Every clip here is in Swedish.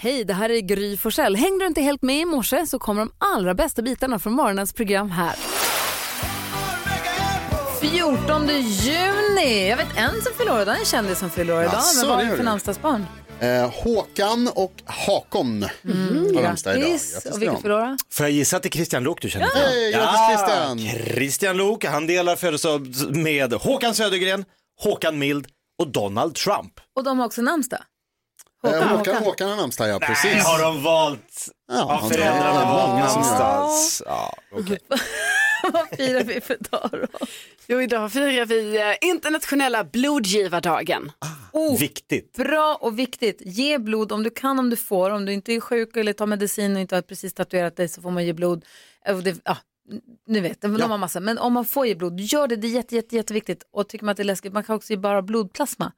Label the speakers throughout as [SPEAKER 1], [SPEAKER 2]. [SPEAKER 1] Hej, det här är Gry Forssell. Hängde du inte helt med i morse så kommer de allra bästa bitarna från morgonens program här. 14 juni! Jag vet en som fyller år idag, en kändis som fyller år idag.
[SPEAKER 2] Jaså,
[SPEAKER 1] Vem var
[SPEAKER 2] det
[SPEAKER 1] det
[SPEAKER 2] gör
[SPEAKER 1] för
[SPEAKER 2] du.
[SPEAKER 1] namnsdagsbarn?
[SPEAKER 2] Eh, Håkan och Hakon har namnsdag idag.
[SPEAKER 1] Grattis!
[SPEAKER 2] Grattis
[SPEAKER 1] Och
[SPEAKER 2] till
[SPEAKER 1] vilka
[SPEAKER 2] dem.
[SPEAKER 1] fyller år då?
[SPEAKER 3] Får jag gissa att det är Christian Lok du känner till?
[SPEAKER 2] Hej, grattis, Christian.
[SPEAKER 3] Christian Lok, han delar födelsedag med Håkan Södergren, Håkan Mild och Donald Trump.
[SPEAKER 1] Och de har också namnsdag?
[SPEAKER 2] Eh, Håkan, Håkan har namnsdag, ja precis.
[SPEAKER 3] Nej, har de valt
[SPEAKER 2] Ja,
[SPEAKER 3] av
[SPEAKER 2] han tror
[SPEAKER 3] föräldrarna
[SPEAKER 2] att det är många som gör det.
[SPEAKER 3] någonstans? Ja, okej.
[SPEAKER 1] Vad firar vi för dag då?
[SPEAKER 4] Jo, idag firar vi eh, internationella blodgivardagen.
[SPEAKER 1] Oh,
[SPEAKER 3] Viktigt.
[SPEAKER 1] bra och viktigt. Ge blod om du kan, om du får. Om du inte är sjuk eller tar medicin och inte har precis tatuerat dig så får man ge blod. Eh, och Det, ja, nu vet, det, de har massa. Men om man får ge blod, gör det. Det är jätte, jätte, jätteviktigt. Och tycker man att det är läskigt, man kan också ge bara blodplasma.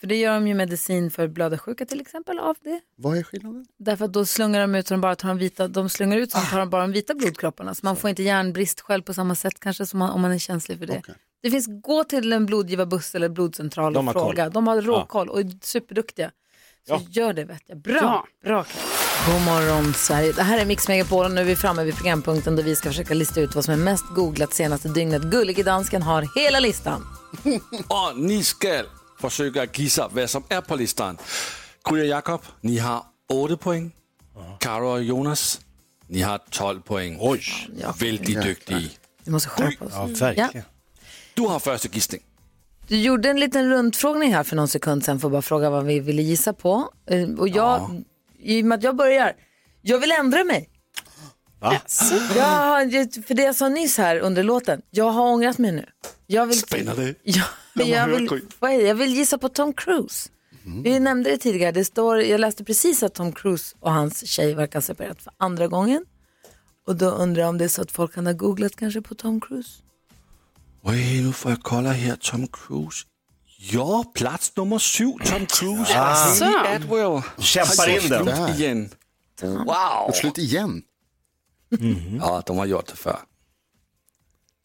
[SPEAKER 1] För det gör de ju medicin för blödarsjuka till exempel av det.
[SPEAKER 2] Vad är skillnaden?
[SPEAKER 1] Därför att då slungar de ut så de bara tar de vita, de slungar ut så de tar de bara de vita blodkropparna. Så man får inte järnbrist själv på samma sätt kanske som man, om man är känslig för det. Det finns, gå till en blodgivarbuss eller blodcentral
[SPEAKER 3] De
[SPEAKER 1] och
[SPEAKER 3] har koll.
[SPEAKER 1] fråga. De har råkoll och är superduktiga. Så gör det vet jag. Bra,
[SPEAKER 4] Ja.
[SPEAKER 1] bra Karin. God morgon Sverige. Det här är Mix Megapol och nu är vi framme vid programpunkten där vi ska försöka lista ut vad som är mest googlat senaste dygnet. Gullige dansken har hela listan.
[SPEAKER 5] Och ni ska försöka gissa vad som är på listan. Gry och Jakob, ni har 8 poäng. Karo och Jonas, ni har 12 poäng. Oj. Väldigt duktiga.
[SPEAKER 1] Vi måste skärpa oss.
[SPEAKER 3] verkligen.
[SPEAKER 1] Ja.
[SPEAKER 5] Du har första gissning.
[SPEAKER 1] Du gjorde en liten rundfrågning här för någon sekund sen för att bara fråga vad vi ville gissa på. Eh, Och jag, i och med att jag börjar, jag vill ändra mig.
[SPEAKER 3] Va?
[SPEAKER 1] Jag, har- för det jag sa nyss här under låten, jag har ångrat mig nu. Jag vill,
[SPEAKER 5] Spännande.
[SPEAKER 1] Jag, jag, vill, vad är det? jag vill gissa på Tom Cruise. Vi nämnde det tidigare, det står, jag läste precis att Tom Cruise och hans tjej verkar ha separerat för andra gången. Och då undrar jag om det är så att folk kan ha googlat kanske på Tom Cruise.
[SPEAKER 5] Oj, nu får jag kolla här. Tom Cruise. Ja, plats nummer sju. Tom Cruise. Ah. Haley Atwell.
[SPEAKER 3] Kämpar in den.
[SPEAKER 5] Slut igen. Wow.
[SPEAKER 2] Och slut igen.
[SPEAKER 5] Ja, de har gjort det förr.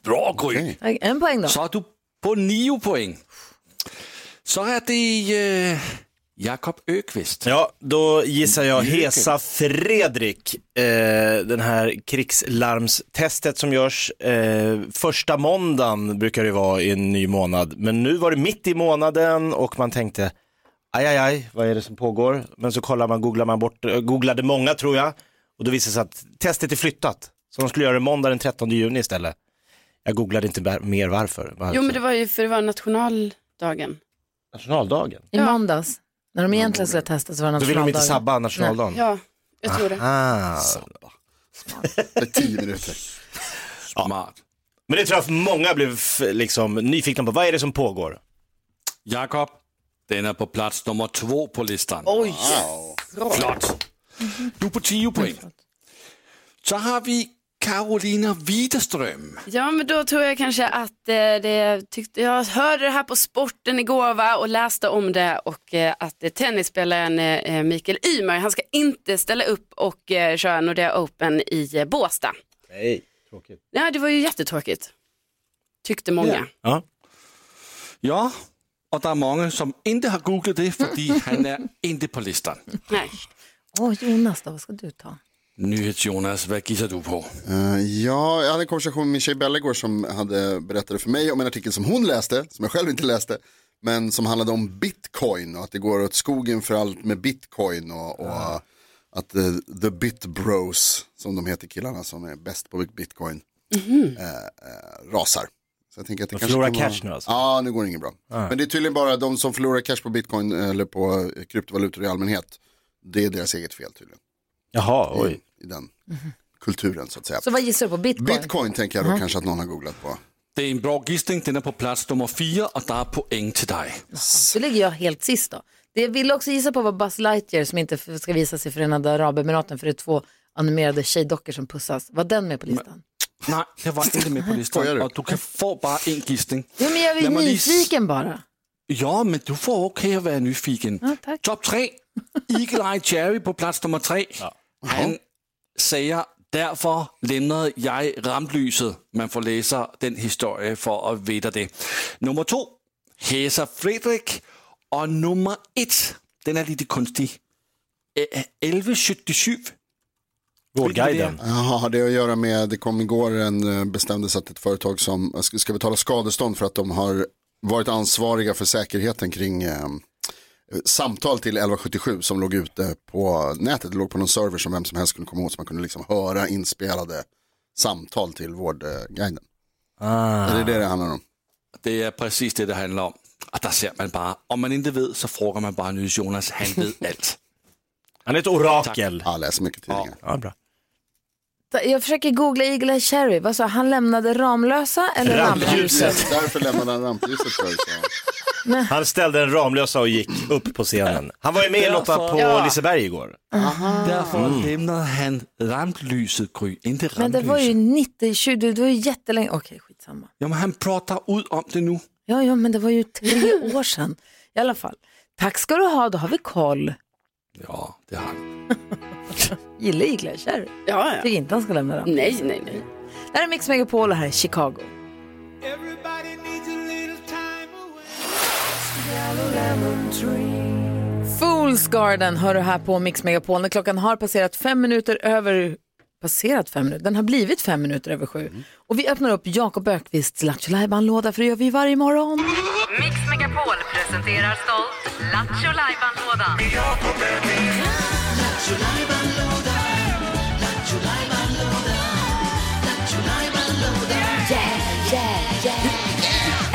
[SPEAKER 5] Bra Gry.
[SPEAKER 2] Okej.
[SPEAKER 1] Tack, En poäng då.
[SPEAKER 5] Så är du på nio poäng. Så är det eh, Jakob Ökvist.
[SPEAKER 3] Ja, då gissar jag Hesa Fredrik. Eh, den här krigslarmstestet som görs eh, första måndagen brukar det vara i en ny månad. Men nu var det mitt i månaden och man tänkte aj, aj, aj, vad är det som pågår? Men så kollar man, googlar man bort, eh, googlade många tror jag och då visade det sig att testet är flyttat. Så de skulle göra det måndag den 13 juni istället. Jag googlade inte bär- mer varför.
[SPEAKER 4] Jo, men det var ju för det var nationaldagen.
[SPEAKER 3] Nationaldagen.
[SPEAKER 1] I måndags, när de egentligen skulle testa så var det
[SPEAKER 3] Då vill de inte
[SPEAKER 1] nationaldagen.
[SPEAKER 3] sabba nationaldagen.
[SPEAKER 4] Ja, jag tror det.
[SPEAKER 3] Ah.
[SPEAKER 2] Det är tio minuter.
[SPEAKER 5] Smart.
[SPEAKER 3] Men det tror jag att många blev f- liksom nyfikna på. Vad är det som pågår?
[SPEAKER 5] Jakob, den är på plats nummer två på listan.
[SPEAKER 4] Oj,
[SPEAKER 5] Flott. Du på tio poäng. Så har vi Carolina Widerström.
[SPEAKER 4] ja men då tror jag kanske att eh, det tyckte, jag hörde det här på sporten igår va, och läste om det och eh, att eh, tennisspelaren eh, Mikael Ymer, han ska inte ställa upp och eh, köra Nordea Open i eh, Båstad.
[SPEAKER 3] Nej, tråkigt.
[SPEAKER 4] Ja, det var ju jättetråkigt. Tyckte många.
[SPEAKER 3] Ja.
[SPEAKER 5] Ja, och det är många som inte har googlat det för han är inte på listan.
[SPEAKER 4] Nej.
[SPEAKER 1] Åh Jonas då, vad ska du ta?
[SPEAKER 5] Nyhets-Jonas, vad gissar du på?
[SPEAKER 2] Eh, ja, jag hade en konversation med min tjej Bella igår som hade berättade för mig om en artikel som hon läste, som jag själv inte läste, men som handlade om bitcoin och att det går åt skogen för allt med bitcoin och, och eh, att eh, the bit bros, som de heter killarna som är bäst på bitcoin, eh, eh, rasar. Så jag tänker att det
[SPEAKER 3] Mhm. De
[SPEAKER 2] kanske
[SPEAKER 3] förlorar
[SPEAKER 2] kan vara-
[SPEAKER 3] cash nu alltså?
[SPEAKER 2] Ja, nu går det inget bra. Men det är tydligen bara de som förlorar cash på bitcoin eller på eh, kryptovalutor i allmänhet. Det är deras eget fel tydligen.
[SPEAKER 3] Jaha,
[SPEAKER 2] I, i den kulturen så att säga.
[SPEAKER 1] Så vad gissar du på? Bitcoin?
[SPEAKER 2] Bitcoin tänker jag då kanske att någon har googlat på.
[SPEAKER 5] Det är en bra gissning, den är på plats nummer fyra och där är poäng till dig.
[SPEAKER 1] Så ligger jag helt sist då. Det jag ville också gissa på var Buzz Lightyear som inte f- ska visas i Förenade Arabemiraten för det är två animerade tjejdockor som pussas. Var den med på listan?
[SPEAKER 5] Nej, det var inte med på
[SPEAKER 2] Skojar
[SPEAKER 5] listan.
[SPEAKER 2] du?
[SPEAKER 5] Och du kan få bara en gissning.
[SPEAKER 1] Jo men jag är
[SPEAKER 5] Nej, men det är s-
[SPEAKER 1] nyfiken bara.
[SPEAKER 5] Ja, men du får okej att vara nyfiken.
[SPEAKER 1] Ja, tack.
[SPEAKER 5] Topp tre. Eagle Eye Cherry på plats nummer tre. Han säger därför lämnade jag rampljuset. Man får läsa den historien för att veta det. Nummer två, Hesa Fredrik. Och nummer ett, den är lite konstig. eh, 1177.
[SPEAKER 3] Vårdguiden.
[SPEAKER 2] Jaha, det har att göra med, det kom igår en eh, bestämdes att ett företag som ska ska betala skadestånd för att de har varit ansvariga för säkerheten kring eh, samtal till 1177 som låg ute på nätet, det låg på någon server som vem som helst kunde komma åt så man kunde liksom höra inspelade samtal till Vårdguiden. Det är det det handlar om.
[SPEAKER 5] Det är precis det, det handlar om. Och där ser man bara, om man inte vet så frågar man bara Nils Jonas, han vet allt.
[SPEAKER 3] Han är ett orakel.
[SPEAKER 2] Ja, läser mycket tidningar.
[SPEAKER 3] Ja, bra.
[SPEAKER 1] Jag försöker googla Eagle-Eye Cherry. Vad sa jag? han? lämnade Ramlösa eller Ramljuset?
[SPEAKER 2] Yes, därför lämnade han rampljuset för sig.
[SPEAKER 3] Han ställde en Ramlösa och gick upp på scenen. Han var ju med i Lotta på
[SPEAKER 4] Ja.
[SPEAKER 3] Liseberg igår.
[SPEAKER 5] Därför lämnade han ramplyset, Gry, inte
[SPEAKER 1] Mm. Men det var ju
[SPEAKER 5] rampljuset.
[SPEAKER 1] 90, 20, det var ju jättelänge. Okej, skitsamma.
[SPEAKER 5] Ja, men han pratar ut om det nu.
[SPEAKER 1] Ja, ja, men det var ju tre år sedan. I alla fall. Tack ska du ha, då har vi koll.
[SPEAKER 5] Ja, det har han.
[SPEAKER 1] Gillar Eagle-Eye Cherry.
[SPEAKER 4] Ja, ja.
[SPEAKER 1] Tycker inte han ska lämna Ramlösa.
[SPEAKER 4] Nej, nej, nej.
[SPEAKER 1] Det här är Mix Megapol och här är Chicago. Fools Garden hör du här på Mix Megapol när klockan har passerat fem minuter över passerat fem minuter, den har blivit fem minuter över sju.
[SPEAKER 4] Mm.
[SPEAKER 1] Och vi öppnar upp Jakob Ökvists Lattjo låda för det gör vi varje morgon.
[SPEAKER 6] Mix Megapol presenterar stolt Lattjo Lajban-lådan.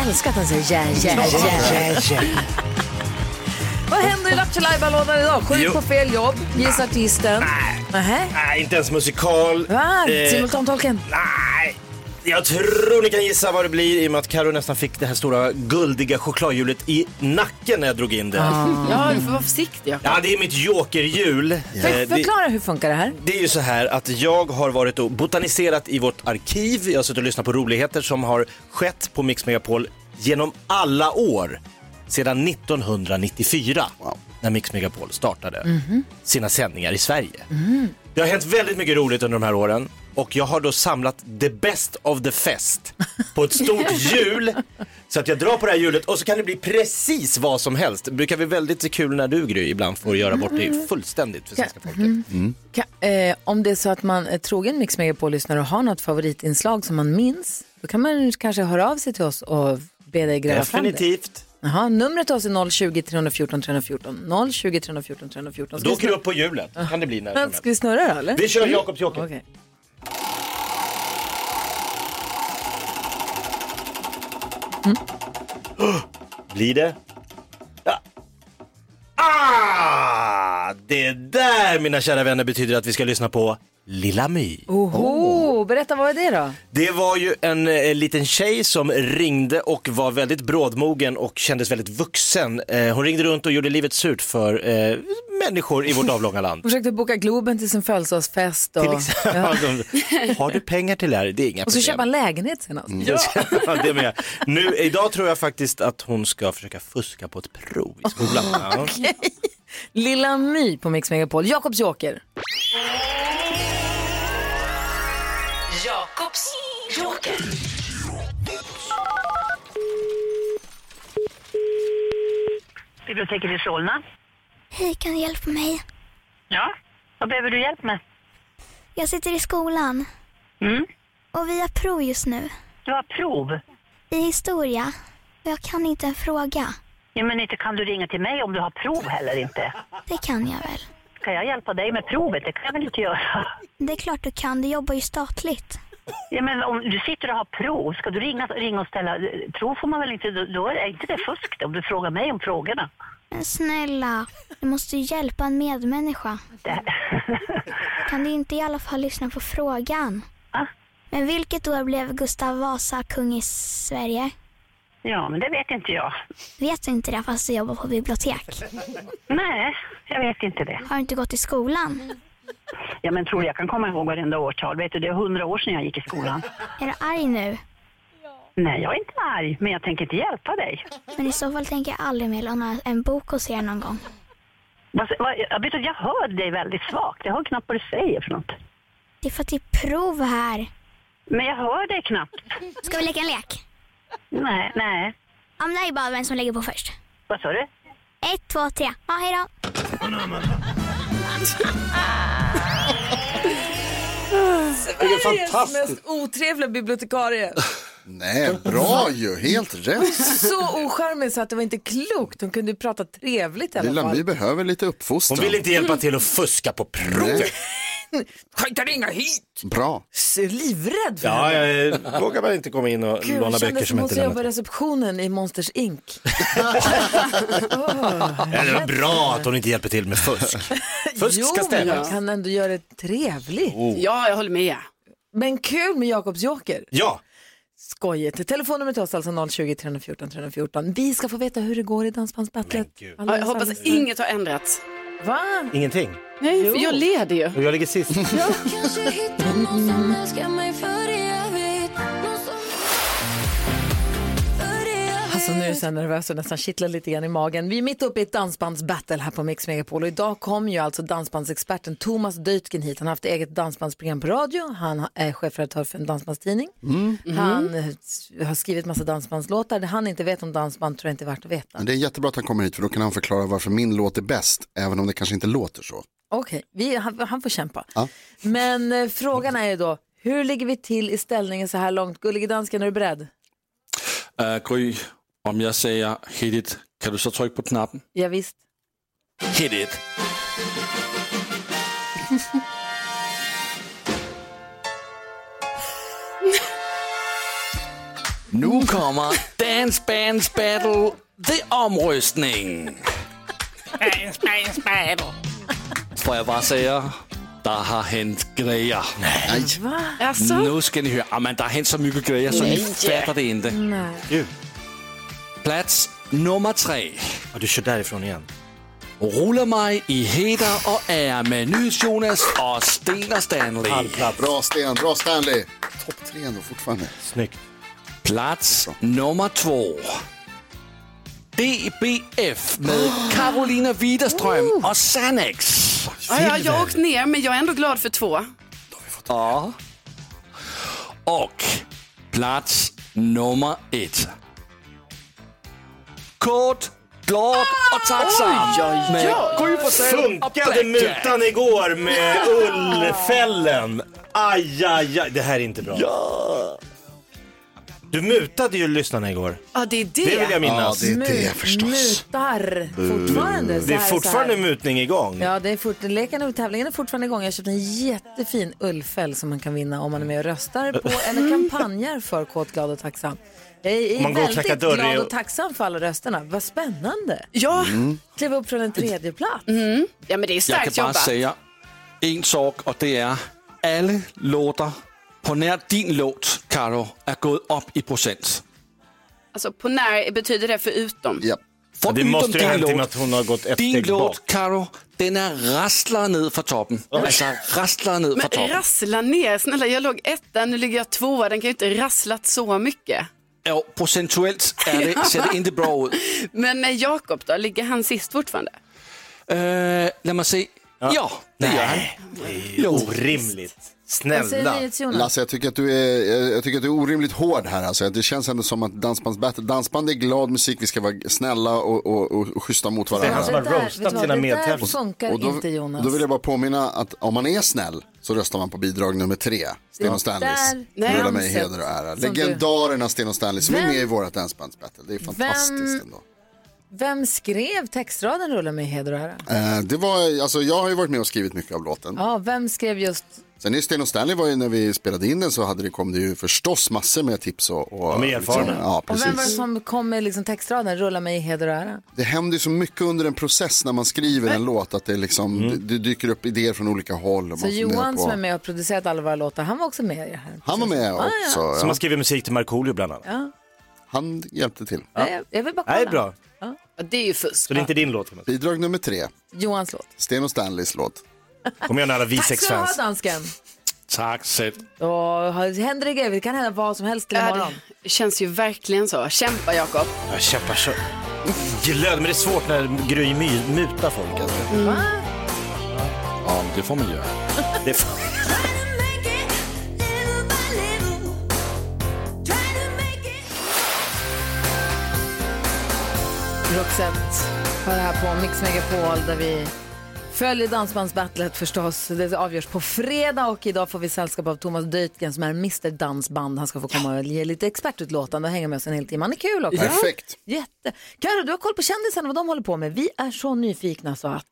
[SPEAKER 1] Älskar att han säger ja, ja, ja, ja. Vad händer i Lattjo lådan idag? Sjuk
[SPEAKER 3] Jo.
[SPEAKER 1] på fel jobb, gissa artisten. Nej.
[SPEAKER 3] Nej, inte ens musikal.
[SPEAKER 1] Va?
[SPEAKER 3] Eh,
[SPEAKER 1] Simultantolken?
[SPEAKER 3] Nej, jag tror ni kan gissa vad det blir i och med att Karo nästan fick det här stora guldiga chokladhjulet i nacken när jag drog in det.
[SPEAKER 4] Ja, du får vara försiktig. Jakob.
[SPEAKER 3] Ja, det är mitt jokerhjul.
[SPEAKER 1] För,
[SPEAKER 3] Eh, det-
[SPEAKER 1] förklara hur funkar det här?
[SPEAKER 3] det är ju så här att jag har varit och botaniserat i vårt arkiv. Jag har suttit och lyssnat på roligheter som har skett på Mix Megapol genom alla år sedan 1994 när Mix Megapol startade sina sändningar i Sverige. Det har hänt väldigt mycket roligt under de här åren och jag har då samlat the best of the fest på ett stort hjul. Så att jag drar på det här hjulet och så kan det bli precis vad som helst. Det brukar bli väldigt kul när du Gry ibland får göra bort det fullständigt för svenska folket.
[SPEAKER 1] Ka- eh, om det är så att man är trogen Mix Megapol-lyssnare och har något favoritinslag som man minns, då kan man kanske höra av sig till oss och be dig gräva fram
[SPEAKER 3] Definitivt.
[SPEAKER 1] det. Jaha, numret till oss är 020 314 314. 020 314 314. Ska,
[SPEAKER 3] Då
[SPEAKER 1] vi,
[SPEAKER 3] åker du upp på hjulet. Kan det bli när som
[SPEAKER 1] snurra,
[SPEAKER 3] helst.
[SPEAKER 1] ska vi snurra då eller?
[SPEAKER 3] Vi kör Jakobs joker.
[SPEAKER 1] Okej.
[SPEAKER 3] Blir det? Ja. Ah! Det där mina kära vänner betyder att vi ska lyssna på Lilla My.
[SPEAKER 1] Oh. Oho, berätta vad är det då?
[SPEAKER 3] Det var ju en eh, liten tjej som ringde och var väldigt brådmogen och kändes väldigt vuxen. Eh, hon ringde runt och gjorde livet surt för eh, människor i vårt avlånga land.
[SPEAKER 1] Försökte boka Globen till sin födelsedagsfest och,
[SPEAKER 3] Till exempel, har du pengar till det här? Det är inga
[SPEAKER 1] och så
[SPEAKER 3] problem.
[SPEAKER 1] köpa en lägenhet senast.
[SPEAKER 3] Mm. Ja. det med. Nu, idag tror jag faktiskt att hon ska försöka fuska på ett prov i skolan. Ja.
[SPEAKER 1] Lilla My på Mix Megapol. Jakobs joker.
[SPEAKER 6] Jakobs joker. Biblioteket i Solna.
[SPEAKER 7] Hej, kan du hjälpa mig?
[SPEAKER 6] Ja, vad behöver du hjälp med?
[SPEAKER 7] Jag sitter i skolan
[SPEAKER 6] Mm.
[SPEAKER 7] och vi har prov just nu
[SPEAKER 6] Du har prov.
[SPEAKER 7] i historia och jag kan inte en fråga.
[SPEAKER 6] Ja, men inte kan du ringa till mig om du har prov heller inte.
[SPEAKER 7] Det kan jag väl?
[SPEAKER 6] Kan jag hjälpa dig med provet? Det kan jag väl inte göra.
[SPEAKER 7] Det är klart du kan, du jobbar ju statligt.
[SPEAKER 6] Ja, men om du sitter och har prov, ska du ringa, ringa och ställa... Prov får man väl inte... Då då är inte det fusk då, om du frågar mig om frågorna.
[SPEAKER 7] Men snälla, du måste ju hjälpa en medmänniska.
[SPEAKER 6] Det,
[SPEAKER 7] Kan du inte i alla fall lyssna på frågan?
[SPEAKER 6] Ja.
[SPEAKER 7] Men vilket år blev Gustav Vasa kung i Sverige?
[SPEAKER 6] ja, men det vet inte jag.
[SPEAKER 7] Vet du inte det fast du jobbar på bibliotek?
[SPEAKER 6] Nej, jag vet inte det.
[SPEAKER 7] Har du inte gått i skolan?
[SPEAKER 6] Ja, men tror du jag kan komma ihåg varenda årtal? Vet du, det är hundra år sedan jag gick i skolan.
[SPEAKER 7] Är du arg nu?
[SPEAKER 6] Nej, jag är inte arg, men jag tänker inte hjälpa dig.
[SPEAKER 7] Men i så fall tänker jag aldrig mer låna en bok hos er någon gång.
[SPEAKER 6] Vad, vad, jag, vet, du, jag hör dig väldigt svagt. Jag hör knappt vad du säger för något.
[SPEAKER 7] Det är för att det är prov här.
[SPEAKER 6] Men jag hör dig knappt.
[SPEAKER 7] Ska vi leka en lek?
[SPEAKER 6] Nej, nej.
[SPEAKER 7] Ja, men det här är bara vem som lägger på först.
[SPEAKER 6] Vad sa du?
[SPEAKER 7] Ett, två, tre. Ja, hej då.
[SPEAKER 1] Sveriges mest otrevliga bibliotekarie.
[SPEAKER 2] Nej, bra ju, helt rätt.
[SPEAKER 1] Så ocharmig så att det var inte klokt. Hon kunde ju prata trevligt i alla
[SPEAKER 2] Lilla My
[SPEAKER 1] fall.
[SPEAKER 2] behöver lite uppfostran.
[SPEAKER 3] Hon vill inte hjälpa till att fuska på provet.
[SPEAKER 1] Skjuta ringa hit!
[SPEAKER 2] Bra.
[SPEAKER 1] Så Livrädd för
[SPEAKER 3] Ja,
[SPEAKER 1] henne.
[SPEAKER 3] jag eh, vågar väl inte komma in och
[SPEAKER 1] Gud,
[SPEAKER 3] låna
[SPEAKER 1] jag
[SPEAKER 3] böcker
[SPEAKER 1] kände
[SPEAKER 3] som
[SPEAKER 1] som
[SPEAKER 3] jag
[SPEAKER 1] hon
[SPEAKER 3] inte
[SPEAKER 1] som jobbar i
[SPEAKER 3] lämnat.
[SPEAKER 1] receptionen i Monsters Inc.
[SPEAKER 3] Ja, det var bra att hon inte hjälper till med fusk. Fusk Oh.
[SPEAKER 1] Jo,
[SPEAKER 3] ska
[SPEAKER 1] men
[SPEAKER 3] stävjas.
[SPEAKER 1] jag kan ändå göra det trevligt.
[SPEAKER 4] Ja, jag håller med.
[SPEAKER 1] Men kul med Jakobs joker.
[SPEAKER 3] Ja,
[SPEAKER 1] Skojigt. Telefonnumret till oss alltså 020 314 314. Vi ska få veta hur det går i Dansbandsbattlet.
[SPEAKER 3] Men gud.
[SPEAKER 1] Alla
[SPEAKER 4] Ja, jag hoppas
[SPEAKER 1] alldeles-
[SPEAKER 4] att inget har ändrats.
[SPEAKER 1] Va?
[SPEAKER 3] ingenting.
[SPEAKER 4] Nej, för jag leder ju.
[SPEAKER 3] Och jag ligger sist.
[SPEAKER 1] Alltså nu är jag så nervös och nästan kittlar lite grann i magen. Vi är mitt uppe i ett dansbandsbattle här på Mix Megapol och idag kom ju alltså dansbandsexperten Thomas Deutgen hit. Han har haft eget dansbandsprogram på radio, han är chefredaktör för en dansbandstidning.
[SPEAKER 3] Mm.
[SPEAKER 1] Han eh, har skrivit massa dansbandslåtar. Det han inte vet om dansband tror jag inte är värt att veta.
[SPEAKER 2] Men det är jättebra att han kommer hit för då kan han förklara varför min låt är bäst, även om det kanske inte låter så.
[SPEAKER 1] Okej, vi- han, han får kämpa.
[SPEAKER 2] Ja.
[SPEAKER 1] Men eh, frågan är ju då, hur ligger vi till i ställningen så här långt? Gullige dansken, är du beredd?
[SPEAKER 5] Uh, Gry, om jag säger hit it, kan du så trycka på knappen?
[SPEAKER 1] Ja, visst.
[SPEAKER 5] Hit it. Nu kommer Dance Bands Battle, det är omröstning. Får jag bara säga, det har hänt grejer.
[SPEAKER 2] Nej,
[SPEAKER 4] Alltså,
[SPEAKER 5] Nu ska ni höra, ah, men det har hänt så mycket grejer så ni fattar det inte.
[SPEAKER 3] Du,
[SPEAKER 5] Plats nummer tre.
[SPEAKER 3] ja, du kör därifrån igen.
[SPEAKER 5] Rulla mig i heder och ära med Nils Jonas och Sten och Stanley.
[SPEAKER 3] Pallplats.
[SPEAKER 2] bra Sten, bra Stanley. Topp tre ändå fortfarande.
[SPEAKER 3] Snyggt.
[SPEAKER 5] Plats nummer två. DBF med Carolina Widerström och Xanax.
[SPEAKER 4] ja, ja, jag har åkt ner men jag är ändå glad för två.
[SPEAKER 5] Ja. Och plats nummer ett. Kort, glad och tacksam. Med Gry Forssell och
[SPEAKER 3] Funkade
[SPEAKER 5] Black
[SPEAKER 3] mutan igår med ullfällen? Aj, aj, aj. Det här är inte bra. Du mutade ju lyssnarna igår.
[SPEAKER 4] Ja, det är det.
[SPEAKER 3] Det vill jag
[SPEAKER 2] Ja,
[SPEAKER 3] minnas.
[SPEAKER 2] det är
[SPEAKER 1] Mut-
[SPEAKER 2] det förstås.
[SPEAKER 1] Mutar fortfarande. Så
[SPEAKER 3] Det är
[SPEAKER 1] här, så
[SPEAKER 3] fortfarande
[SPEAKER 1] här.
[SPEAKER 3] mutning igång.
[SPEAKER 1] Ja, det är fort... leken och tävlingen är fortfarande igång. Jag köpte en jättefin ullfäll som man kan vinna om man är med och röstar på eller kampanjar för Kåt, glad och tacksam. Jag är
[SPEAKER 3] Om man
[SPEAKER 1] är
[SPEAKER 3] går och
[SPEAKER 1] väldigt
[SPEAKER 3] knackar dörr
[SPEAKER 1] glad
[SPEAKER 3] i-
[SPEAKER 1] och tacksam för alla rösterna. Vad spännande.
[SPEAKER 4] Ja.
[SPEAKER 3] Mm.
[SPEAKER 1] Kliva upp från en tredje plats.
[SPEAKER 2] Mm.
[SPEAKER 4] ja, men det är
[SPEAKER 5] Jag kan
[SPEAKER 4] starkt
[SPEAKER 5] bara
[SPEAKER 4] jobbat.
[SPEAKER 5] säga en sak och det är alla låtar på när din låt, Karo, är gått upp i procent.
[SPEAKER 4] Alltså, på när betyder det förutom?
[SPEAKER 2] Ja.
[SPEAKER 5] Förutom
[SPEAKER 3] Det måste ju
[SPEAKER 5] din
[SPEAKER 3] ha hänt i och med
[SPEAKER 5] låt.
[SPEAKER 3] att hon har gått ett
[SPEAKER 5] Din
[SPEAKER 3] steg bak.
[SPEAKER 5] låt, Karo, den är rasslar ned för toppen. Alltså rasslar ned för
[SPEAKER 4] Men
[SPEAKER 5] toppen.
[SPEAKER 4] rassla ner, snälla jag låg etta, nu ligger jag tvåa, den kan ju inte rasslat så mycket.
[SPEAKER 5] Ja, procentuellt är det, ser det inte bra ut.
[SPEAKER 4] Men eh, Jakob då, ligger han sist fortfarande?
[SPEAKER 5] Uh, låt mig se. Ja, det gör han.
[SPEAKER 3] Nej, det är ju orimligt.
[SPEAKER 1] Vad säger
[SPEAKER 3] Snälla.
[SPEAKER 1] ni till Jonas?
[SPEAKER 2] Lasse, jag tycker, att du är, jag- jag tycker att du är orimligt hård här. Alltså. Det känns ändå som att dansbandsbattle, dansband är glad musik, vi ska vara snälla och, och, och, och schyssta mot varandra.
[SPEAKER 3] han som har
[SPEAKER 1] Det där-
[SPEAKER 3] roastat
[SPEAKER 1] vet du vad,
[SPEAKER 3] sina
[SPEAKER 1] Det där
[SPEAKER 3] medtävlande.
[SPEAKER 1] funkar
[SPEAKER 2] Och då,
[SPEAKER 1] inte Jonas.
[SPEAKER 2] då vill jag bara påminna att om man är snäll så röstar man på bidrag nummer tre, Sten och Stanleys.
[SPEAKER 1] där
[SPEAKER 2] Rulla mig i
[SPEAKER 1] namnet
[SPEAKER 2] heder och ära.
[SPEAKER 1] som du-
[SPEAKER 2] Legendarerna Sten och Stanley som är
[SPEAKER 1] Vem-
[SPEAKER 2] med i vårat dansbandsbattle. Det är fantastiskt ändå.
[SPEAKER 1] Vem skrev textraden Rulla mig i heder och ära?
[SPEAKER 2] Eh, Det var, alltså, jag har ju varit med och skrivit mycket av låten.
[SPEAKER 1] Ja, vem skrev just...
[SPEAKER 2] Sen är Sten och Stanley var ju när vi spelade in den så hade det, kom det ju förstås massor med tips och... och liksom-
[SPEAKER 3] De är erfarna.
[SPEAKER 2] ja,
[SPEAKER 1] Och
[SPEAKER 2] precis.
[SPEAKER 1] vem var det som kom med liksom textraden Rulla mig i heder och ära?
[SPEAKER 2] Det händer ju så mycket under en process när man skriver en låt att det, liksom, det, det dyker upp idéer från olika håll. Och
[SPEAKER 1] Så
[SPEAKER 2] man funderar
[SPEAKER 1] Johan
[SPEAKER 2] på...
[SPEAKER 1] som är med Ah, och har producerat alla våra låtar, han var också med i det här.
[SPEAKER 2] Han var med också. ja.
[SPEAKER 3] Som har skrivit musik till Markoolio bland annat.
[SPEAKER 2] Han hjälpte till.
[SPEAKER 1] Nej, jag vill bara kolla.
[SPEAKER 3] Nej, bra.
[SPEAKER 4] Ja, det är ju fusk.
[SPEAKER 3] Så det är inte din låt, Thomas.
[SPEAKER 2] Bidrag nummer tre,
[SPEAKER 1] Johans låt.
[SPEAKER 2] Sten och Stanleys låt.
[SPEAKER 3] Kom igen alla
[SPEAKER 1] Tack ska du ha
[SPEAKER 3] Visex-fans.
[SPEAKER 1] dansken.
[SPEAKER 5] Tack själv.
[SPEAKER 1] Åh, händer det grejer, det kan hända vad som helst till
[SPEAKER 4] Ja,
[SPEAKER 1] imorgon.
[SPEAKER 4] det känns ju verkligen så. Kämpa Jakob.
[SPEAKER 3] Jag kämpar så... Glöd, men det är svårt när Gry my- mutar folk. Alltså.
[SPEAKER 1] Mm.
[SPEAKER 5] Ja, men det får man göra.
[SPEAKER 3] Det är fan...
[SPEAKER 1] Roxette har det här på Mix Megapol där vi Följ Dansbandsbattlet förstås. Det avgörs på fredag och idag får vi sällskap av Thomas Döjtgen som är Mr Dansband. Han ska få komma och ge lite expertutlåtande och hänga med oss en hel timme. Han är kul också.
[SPEAKER 2] Perfekt.
[SPEAKER 1] Jätte. Karo, du har koll på kändisarna och vad de håller på med. Vi är så nyfikna så att.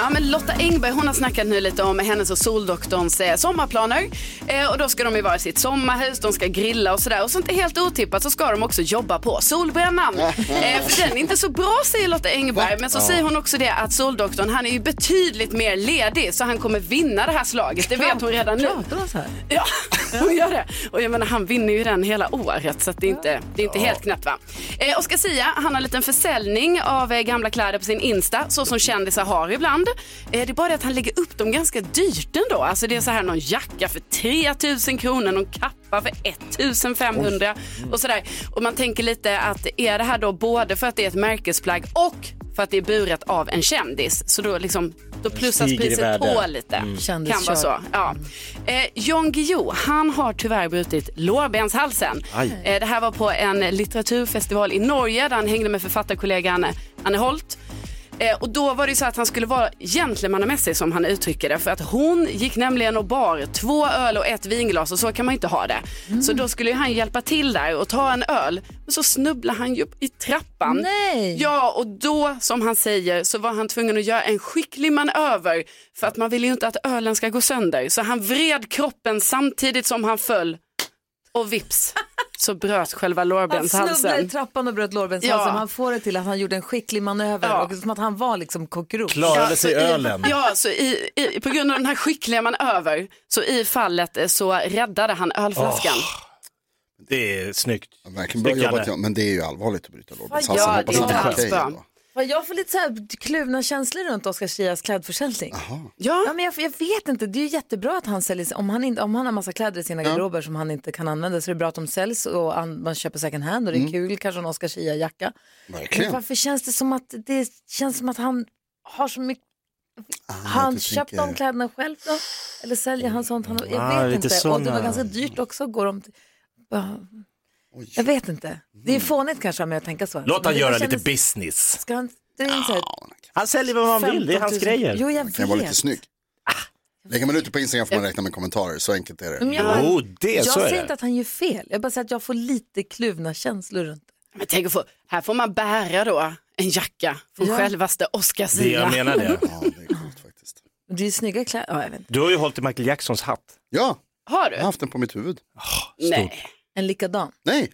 [SPEAKER 4] Ja, men Lotta Engberg hon har snackat nu lite om hennes och Soldoktorns eh, sommarplaner. Eh, och då ska de ju vara i sitt sommarhus, de ska grilla och sådär. Och så inte helt otippat så ska de också jobba på Solbrännan. eh, för den är inte så bra säger Lotta Engberg. Men så säger hon också det att Soldoktorn han är ju betydligt mer ledig så han kommer vinna det här slaget. Det vet hon redan nu.
[SPEAKER 1] Pratar de så här?
[SPEAKER 4] Ja, hon gör det. Och jag menar, han vinner ju den hela året så att det är inte, det är inte helt knäppt va. Eh, Oscar Sia, han har en liten försäljning av eh, gamla kläder på sin Insta, så som kändisar har ibland. Eh, det är bara det att han lägger upp dem ganska dyrt ändå. Alltså det är så här någon jacka för 3000 kronor, någon kappa för 1500 och sådär. Och man tänker lite att är det här då både för att det är ett märkesplagg och för att det är buret av en kändis. Så då, liksom, då plussas
[SPEAKER 3] Stiger i
[SPEAKER 4] priset
[SPEAKER 3] värde. Mm.
[SPEAKER 4] på lite. Kan vara
[SPEAKER 1] Kändiskört.
[SPEAKER 4] så. Ja. Eh, Jan Guillou, han har tyvärr brutit lårbenshalsen.
[SPEAKER 3] Aj.
[SPEAKER 4] Eh, det här var på en litteraturfestival i Norge där han hängde med författarkollegan Anne Holt. Eh, och då var det ju så att han skulle vara gentlemannamässig som han uttrycker det. För att hon gick nämligen och bar två öl och ett vinglas och så kan man ju inte ha det.
[SPEAKER 1] Mm.
[SPEAKER 4] Så då skulle ju han hjälpa till där och ta en öl. Men så snubblade han ju upp i trappan.
[SPEAKER 1] Nej.
[SPEAKER 4] Ja, och då som han säger så var han tvungen att göra en skicklig manöver för att man vill ju inte att ölen ska gå sönder. Så han vred kroppen samtidigt som han föll och vips så bröt själva
[SPEAKER 1] Han snubblade i
[SPEAKER 4] lårbenshalsen.
[SPEAKER 1] trappan och bröt lårbenshalsen.
[SPEAKER 4] Ja.
[SPEAKER 1] Han får det till att han gjorde en skicklig manöver
[SPEAKER 4] Ja.
[SPEAKER 1] och som att han var liksom kockrock.
[SPEAKER 3] Klarade
[SPEAKER 4] Ja,
[SPEAKER 3] sig
[SPEAKER 4] så i-
[SPEAKER 3] ölen.
[SPEAKER 4] Ja, så i, i, på grund av den här skickliga manöver så i fallet eh, så räddade han ölflaskan.
[SPEAKER 3] Det är snyggt.
[SPEAKER 2] Ja, Verkligen bra
[SPEAKER 3] Snyggt,
[SPEAKER 2] jobbat,
[SPEAKER 3] Janne.
[SPEAKER 2] ja. men det är ju allvarligt att bryta lårbenshalsen.
[SPEAKER 4] Ja,
[SPEAKER 2] Hoppas
[SPEAKER 4] det är
[SPEAKER 2] att
[SPEAKER 4] inte
[SPEAKER 2] är
[SPEAKER 4] alls
[SPEAKER 2] okej
[SPEAKER 4] bra.
[SPEAKER 2] ändå.
[SPEAKER 1] Vad Jag får lite så här kluvna känslor runt Oscar Sias klädförsäljning. Ja,
[SPEAKER 4] Ja,
[SPEAKER 1] men jag, jag vet inte, det är ju jättebra att han säljer, om han, inte, om han har massa kläder i sina garderober som han inte kan använda så är det bra att de säljs och an, man köper second hand och
[SPEAKER 3] Mm.
[SPEAKER 1] det är kul, kanske en Oscar Sia-jacka. Men
[SPEAKER 2] Verkligen.
[SPEAKER 1] varför känns det som att det känns som att han har så mycket,
[SPEAKER 3] Ah,
[SPEAKER 1] har han
[SPEAKER 2] du
[SPEAKER 1] köpt
[SPEAKER 2] tänker-
[SPEAKER 1] de kläderna själv då? Eller säljer han sånt? Han, jag
[SPEAKER 3] Ah,
[SPEAKER 1] vet
[SPEAKER 3] lite
[SPEAKER 1] inte. Och det var
[SPEAKER 3] såna.
[SPEAKER 1] ganska dyrt också, går de till, Ja,
[SPEAKER 2] Oj.
[SPEAKER 1] jag vet inte. Det
[SPEAKER 3] Mm.
[SPEAKER 1] är fånigt kanske med att tänka så.
[SPEAKER 3] Låt
[SPEAKER 1] Men
[SPEAKER 3] han
[SPEAKER 1] det
[SPEAKER 3] göra
[SPEAKER 1] kändes-
[SPEAKER 3] lite business.
[SPEAKER 1] Ska han dra in så här
[SPEAKER 3] Han säljer vad man vill, det är hans
[SPEAKER 1] 15 000
[SPEAKER 3] grejer.
[SPEAKER 1] Jo, jag vet.
[SPEAKER 2] Kan jag vara lite snygg?
[SPEAKER 4] Ah.
[SPEAKER 2] Lägger man ut det på Instagram får man räkna med kommentarer, så enkelt är
[SPEAKER 1] Men
[SPEAKER 4] Mm.
[SPEAKER 2] det.
[SPEAKER 1] jag,
[SPEAKER 3] Jo, Oh, det-
[SPEAKER 1] jag
[SPEAKER 3] så är
[SPEAKER 1] säger
[SPEAKER 3] det.
[SPEAKER 1] inte att han gör fel. Jag bara säger att jag får lite kluvna känslor runt det.
[SPEAKER 4] men tänk att få, här får man bära då en jacka från
[SPEAKER 1] Ja.
[SPEAKER 4] självaste Oscar
[SPEAKER 3] Det jag
[SPEAKER 4] Zia.
[SPEAKER 3] menar det.
[SPEAKER 2] Ja, det är coolt faktiskt.
[SPEAKER 1] Det är ju snygga kläder. Ja, jag vet. inte.
[SPEAKER 3] Du har ju hållit i Michael Jacksons hatt.
[SPEAKER 2] Ja,
[SPEAKER 4] Har du?
[SPEAKER 2] jag har haft den på mitt huvud.
[SPEAKER 4] Nej.
[SPEAKER 1] En likadan.
[SPEAKER 2] Nej, en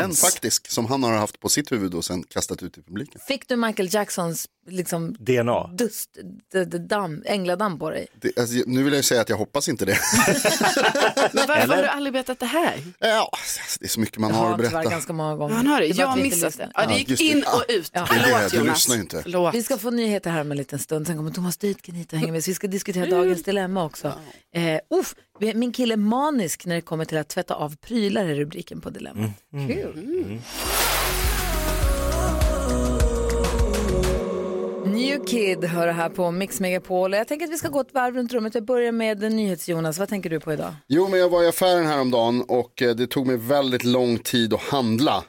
[SPEAKER 3] Hans.
[SPEAKER 2] faktisk som han har haft på sitt huvud och sen kastat ut i publiken.
[SPEAKER 1] Fick du Michael Jacksons liksom,
[SPEAKER 3] DNA.
[SPEAKER 1] dust, d- d- damm, ängladamm på dig?
[SPEAKER 2] Det, alltså, nu vill jag ju säga att jag hoppas inte det.
[SPEAKER 4] Men varför
[SPEAKER 3] Eller?
[SPEAKER 4] har du aldrig berättat det här?
[SPEAKER 2] ja, alltså, det är så mycket man
[SPEAKER 1] Jag
[SPEAKER 2] har
[SPEAKER 1] har
[SPEAKER 2] att
[SPEAKER 1] tyvärr
[SPEAKER 2] berätta.
[SPEAKER 1] ganska många gånger.
[SPEAKER 4] Ja, Han har det.
[SPEAKER 1] Det är bara
[SPEAKER 4] Jag
[SPEAKER 1] att
[SPEAKER 4] har
[SPEAKER 1] vi inte
[SPEAKER 4] missat
[SPEAKER 1] lyssnar.
[SPEAKER 4] det. Ja, det
[SPEAKER 2] Ja,
[SPEAKER 4] gick
[SPEAKER 2] just det.
[SPEAKER 4] in
[SPEAKER 2] Ah,
[SPEAKER 4] och ut.
[SPEAKER 1] ja.
[SPEAKER 2] Det är det,
[SPEAKER 4] Förlåt
[SPEAKER 2] du
[SPEAKER 4] Jonas.
[SPEAKER 2] lyssnar ju inte.
[SPEAKER 4] Förlåt.
[SPEAKER 1] Vi ska få nyheter här om en liten stund. Sen kommer Thomas Dytken hit och hänger med oss. Vi ska diskutera dagens dilemma också. Eh, uff, min kille är manisk när det kommer till att tvätta av prylar är rubriken på dilemma. Kul. New Kid hör det här på Mix Megapol. Jag tänker att vi ska gå ett varv runt rummet. Jag börjar med NyhetsJonas. Vad tänker du på idag?
[SPEAKER 2] Jo, men jag var i affären häromdagen och eh, det tog mig väldigt lång tid att handla.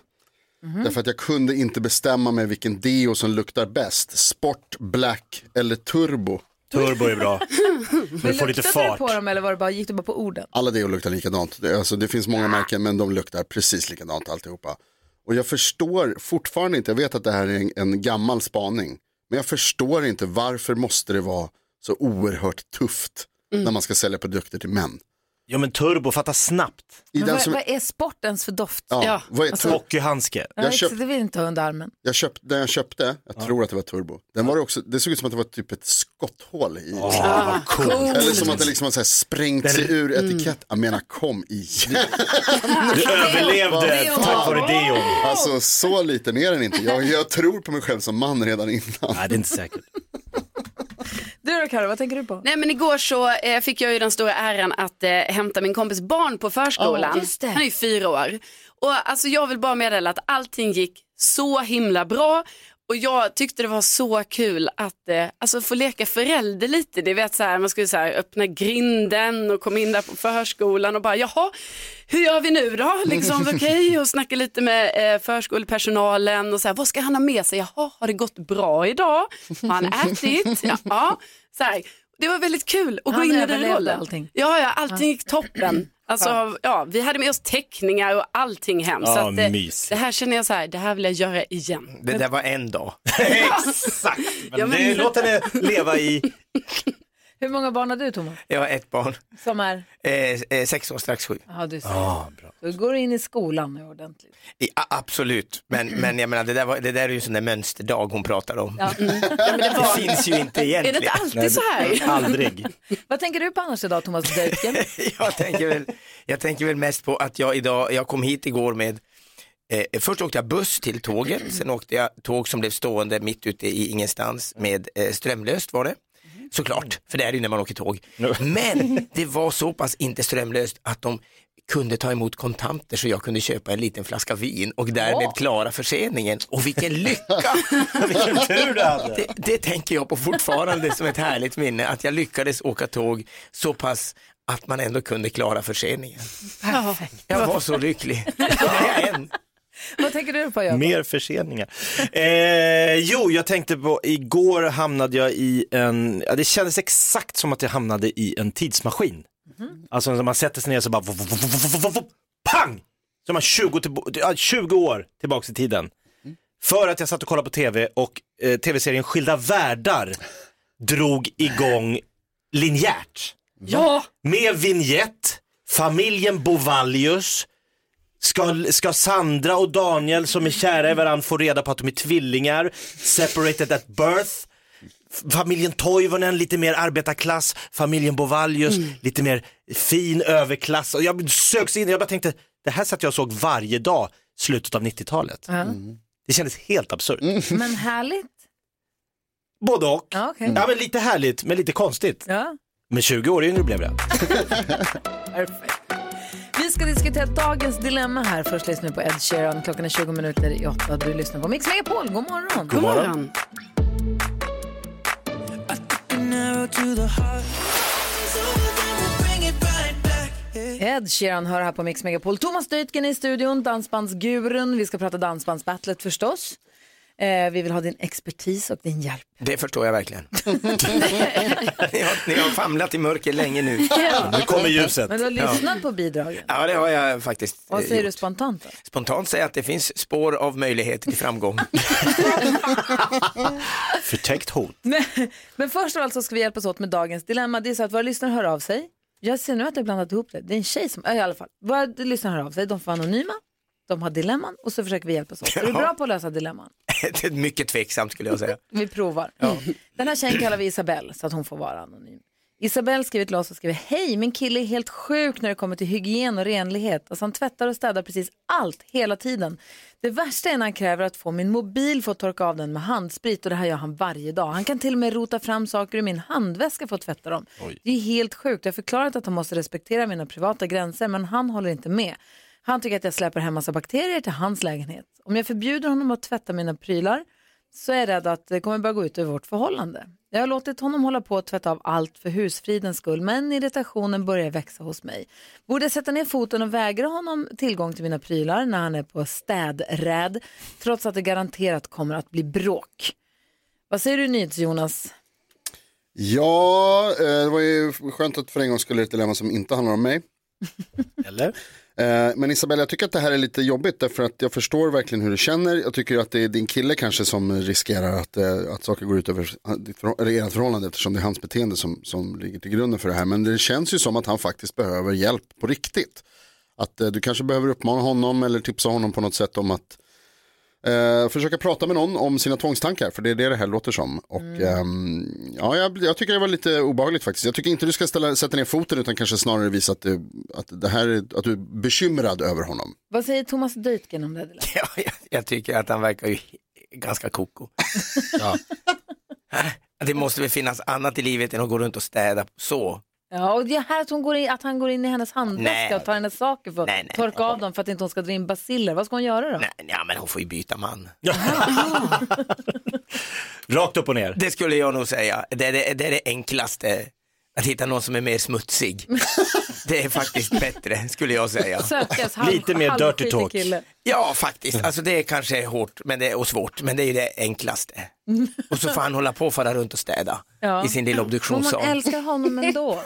[SPEAKER 2] Därför att jag kunde inte bestämma mig vilken deo som luktar bäst. Sport, black eller turbo.
[SPEAKER 3] Turbo är bra. Du får lite
[SPEAKER 1] Luktade du
[SPEAKER 3] fart.
[SPEAKER 1] på dem eller var det bara, gick du bara på orden?
[SPEAKER 2] Alla deor luktar likadant. Det, alltså, det finns många märken men de luktar precis likadant alltihopa. Och jag förstår fortfarande inte, jag vet att det här är en, en gammal spaning. Men jag förstår inte varför måste det vara så oerhört tufft när man ska sälja produkter till män.
[SPEAKER 3] Ja men turbo, fatta snabbt.
[SPEAKER 2] I
[SPEAKER 1] Men
[SPEAKER 2] den
[SPEAKER 1] vad,
[SPEAKER 2] som,
[SPEAKER 1] vad är sportens för doft?
[SPEAKER 2] ja,
[SPEAKER 4] Ja,
[SPEAKER 2] vad är tur-
[SPEAKER 3] Hockeyhandske.
[SPEAKER 1] Nej,
[SPEAKER 2] köpt-
[SPEAKER 1] Det vill jag inte ha under armen.
[SPEAKER 2] jag köpt, den jag köpte, jag tror att det var turbo, den var det också, det såg ut som att det var typ ett skotthål i.
[SPEAKER 3] Ah, coolt.
[SPEAKER 2] Eller som att det liksom har så här sprängt sig ur
[SPEAKER 3] Mm.
[SPEAKER 2] etikett. Jag menar kom igen.
[SPEAKER 3] Du överlevde tack vare deon.
[SPEAKER 2] Alltså så liten är den inte. Jag, jag tror på mig själv som man redan innan.
[SPEAKER 3] Nej det är inte säkert.
[SPEAKER 1] Du då Karo, vad tänker du på?
[SPEAKER 4] Nej men igår så eh, fick jag ju den stora äran att eh, hämta min kompis barn på förskolan.
[SPEAKER 1] Ja, just det.
[SPEAKER 4] Han är ju fyra år. Och alltså jag vill bara meddela att allting gick så himla bra. Och jag tyckte det var så kul att eh, alltså få leka förälder lite. Det vet, så här, man skulle så här, öppna grinden och komma in där på förskolan och bara jaha, hur gör vi nu då? Liksom, Okej, och snacka lite med eh, förskolepersonalen och så här, vad ska han ha med sig? Jaha, har det gått bra idag? Har han ätit? Ja, ja. Så här, det var väldigt kul att gå
[SPEAKER 1] Han
[SPEAKER 4] in i den
[SPEAKER 1] överlevde
[SPEAKER 4] rollen.
[SPEAKER 1] allting.
[SPEAKER 4] Ja, ja, allting gick toppen. Alltså, ja, vi hade med oss teckningar och allting hem. så
[SPEAKER 3] Ja,
[SPEAKER 4] att, eh,
[SPEAKER 3] mysigt.
[SPEAKER 4] det här känner jag så här, det här vill jag göra igen.
[SPEAKER 8] Det där var en dag.
[SPEAKER 3] Exakt, men,
[SPEAKER 4] Ja, men-
[SPEAKER 3] Det, låt henne leva i
[SPEAKER 1] Hur många barn har du Thomas?
[SPEAKER 8] Jag har ett barn,
[SPEAKER 1] Som är,
[SPEAKER 8] eh, eh, sex år, strax sju.
[SPEAKER 1] ja du ser. Då går du in i skolan nu ordentligt.
[SPEAKER 8] I, a, absolut, men, men jag menar det där, var, det där är ju en sån där mönsterdag hon pratar om.
[SPEAKER 1] Ja.
[SPEAKER 8] det, finns ju inte
[SPEAKER 4] Är det
[SPEAKER 8] egentligen.
[SPEAKER 4] inte alltid så här?
[SPEAKER 3] aldrig.
[SPEAKER 1] Vad tänker du på annars idag Thomas Dörken?
[SPEAKER 8] jag, tänker väl, jag tänker väl mest på att jag idag, jag kom hit igår med Eh, först åkte jag buss till tåget, sen åkte jag tåg som blev stående mitt ute i ingenstans med eh, strömlöst var det.
[SPEAKER 3] Mhm.
[SPEAKER 8] Såklart, för det är det ju när man åker tåg. Men det var så pass inte strömlöst att de kunde ta emot kontanter så jag kunde köpa en liten flaska vin och därmed klara förseningen. Och vilken lycka!
[SPEAKER 3] Vilken tur du hade.
[SPEAKER 8] Det, det tänker jag på fortfarande som ett härligt minne, att jag lyckades åka tåg så pass att man ändå kunde klara förseningen. Jag var så lycklig. Det är jag än.
[SPEAKER 1] Vad tänker du på Jakob?
[SPEAKER 3] Mer förseningar. Eh, jo, jag tänkte på, igår hamnade jag i en, ja, det kändes exakt som att jag hamnade i en tidsmaskin. Alltså när man sätter sig ner så bara, vop, vop, vop, vop, vop, vop, vop, pang! Så är man 20, tillbo- ja, 20 år tillbaks i tiden. För att jag satt och kollade på tv och eh, tv-serien Skilda världar drog igång linjärt.
[SPEAKER 4] Ja,
[SPEAKER 3] Med vignett, familjen Bovallius, ska, ska Sandra och Daniel som är kära i varandra få reda på att de är tvillingar, separated at birth, F- familjen Toivonen lite mer arbetarklass, familjen Bovallius
[SPEAKER 1] Mm.
[SPEAKER 3] lite mer fin överklass. Och jag söks in, jag bara tänkte, det här satt jag och såg varje dag slutet av 90-talet.
[SPEAKER 1] Ja.
[SPEAKER 3] Det kändes helt absurt.
[SPEAKER 1] Men härligt.
[SPEAKER 3] Både och.
[SPEAKER 1] Mm. Ja, okej.
[SPEAKER 3] Ja men lite härligt men lite konstigt.
[SPEAKER 1] Ja.
[SPEAKER 3] Men 20 år yngre blev jag.
[SPEAKER 1] Perfekt. Vi ska diskutera dagens dilemma här. Först lyssnar vi på Ed Sheeran. Klockan är 20 minuter i åtta. Du lyssnar på Mix Megapol. God morgon.
[SPEAKER 4] god morgon.
[SPEAKER 1] Ed Sheeran hör här på Mix Megapol. Thomas Dytgen är i studion, dansbandsgurun. Vi ska prata dansbandsbattlet förstås. Eh, vi vill ha din expertis och din hjälp.
[SPEAKER 8] Det förstår jag verkligen. ni, har, ni har famlat i mörker länge nu.
[SPEAKER 3] Nu kommer ljuset.
[SPEAKER 1] Men du har lyssnat på bidragen.
[SPEAKER 8] Ja, det har jag faktiskt.
[SPEAKER 1] Vad
[SPEAKER 8] eh,
[SPEAKER 1] säger du
[SPEAKER 8] gjort.
[SPEAKER 1] spontant då?
[SPEAKER 8] Spontant säger jag att det finns spår av möjligheter till framgång.
[SPEAKER 3] Förtäckt hot.
[SPEAKER 1] Men, men först av allt så ska vi hjälpas åt med dagens dilemma. Det är så att våra lyssnare hör av sig. Jag ser nu att jag har blandat ihop det. Det är en tjej som, ja, i alla fall, våra lyssnare hör av sig. De får vara anonyma, de har dilemman och så försöker vi hjälpas åt. Är du
[SPEAKER 8] Ja.
[SPEAKER 1] bra på att lösa dilemman?
[SPEAKER 8] det är mycket tveksamt skulle jag säga.
[SPEAKER 1] Vi provar. Den här tjejen kallar vi Isabelle så att hon får vara anonym. Isabelle skriver till oss och skriver Hej, min kille är helt sjuk när det kommer till hygien och renlighet. Alltså han tvättar och städar precis allt hela tiden. Det värsta är när han kräver att få min mobil för att torka av den med handsprit och det här gör han varje dag. Han kan till och med rota fram saker ur min handväska för att tvätta dem. Det är helt sjukt. Jag har förklarat att han måste respektera mina privata gränser men han håller inte med. Han tycker att jag släpper hem massa bakterier till hans lägenhet. Om jag förbjuder honom att tvätta mina prylar så är jag rädd att det kommer börja gå ut över vårt förhållande. Jag har låtit honom hålla på att tvätta av allt för husfridens skull, men irritationen börjar växa hos mig. Borde jag sätta ner foten och vägra honom tillgång till mina prylar när han är på städräd, trots att det garanterat kommer att bli bråk? Vad säger du NyhetsJonas?
[SPEAKER 2] Ja, eh, det var ju skönt att för en gång skulle ett dilemma som inte handlar om mig.
[SPEAKER 3] Eller?
[SPEAKER 2] Eh, Men Isabella, jag tycker att det här är lite jobbigt därför att jag förstår verkligen hur du känner. Jag tycker att det är din kille kanske som riskerar att, eh, att saker går ut över ditt förhå- eller ert förhållande eftersom det är hans beteende som, som ligger till grunden för det här. Men det känns ju som att han faktiskt behöver hjälp på riktigt. Att eh, du kanske behöver uppmana honom eller tipsa honom på något sätt om att Eh, försöka prata med någon om sina tvångstankar, för det är det det här låter som. Och, ehm, ja, jag, jag tycker det var lite obehagligt faktiskt. Jag tycker inte du ska ställa, sätta ner foten utan kanske snarare visa att du, att det här, är- att du är bekymrad över honom.
[SPEAKER 1] Vad säger Thomas Dytgen om det? här dilemmat?
[SPEAKER 8] Ja, jag, jag tycker att han verkar ju ganska koko. Äh, Det måste väl finnas annat i livet än att gå runt och städa så.
[SPEAKER 1] Ja, och det här att, hon går in, att han går in i hennes handväska
[SPEAKER 8] Nej.
[SPEAKER 1] och tar hennes saker för att
[SPEAKER 8] Nej, nej,
[SPEAKER 1] torka
[SPEAKER 8] nej.
[SPEAKER 1] av dem för att inte hon ska dra in basiller. Vad ska hon göra då?
[SPEAKER 8] Nej, nej, men hon får ju byta man.
[SPEAKER 3] Rakt upp och ner.
[SPEAKER 8] Det skulle jag nog säga. Det är det, det, är det enklaste. Att hitta någon som är mer smutsig. det är faktiskt bättre, skulle jag säga.
[SPEAKER 1] Sökes halv,
[SPEAKER 3] Lite mer
[SPEAKER 1] halvskitig
[SPEAKER 3] dirty talk.
[SPEAKER 1] Kille.
[SPEAKER 8] Ja, faktiskt. Alltså det är kanske är hårt men det är, och svårt, men det är ju det enklaste. Och så får han hålla på och fara runt och städa
[SPEAKER 1] Ja.
[SPEAKER 8] i sin lilla
[SPEAKER 1] Men
[SPEAKER 8] obduktionssal.
[SPEAKER 1] hon älskar honom ändå.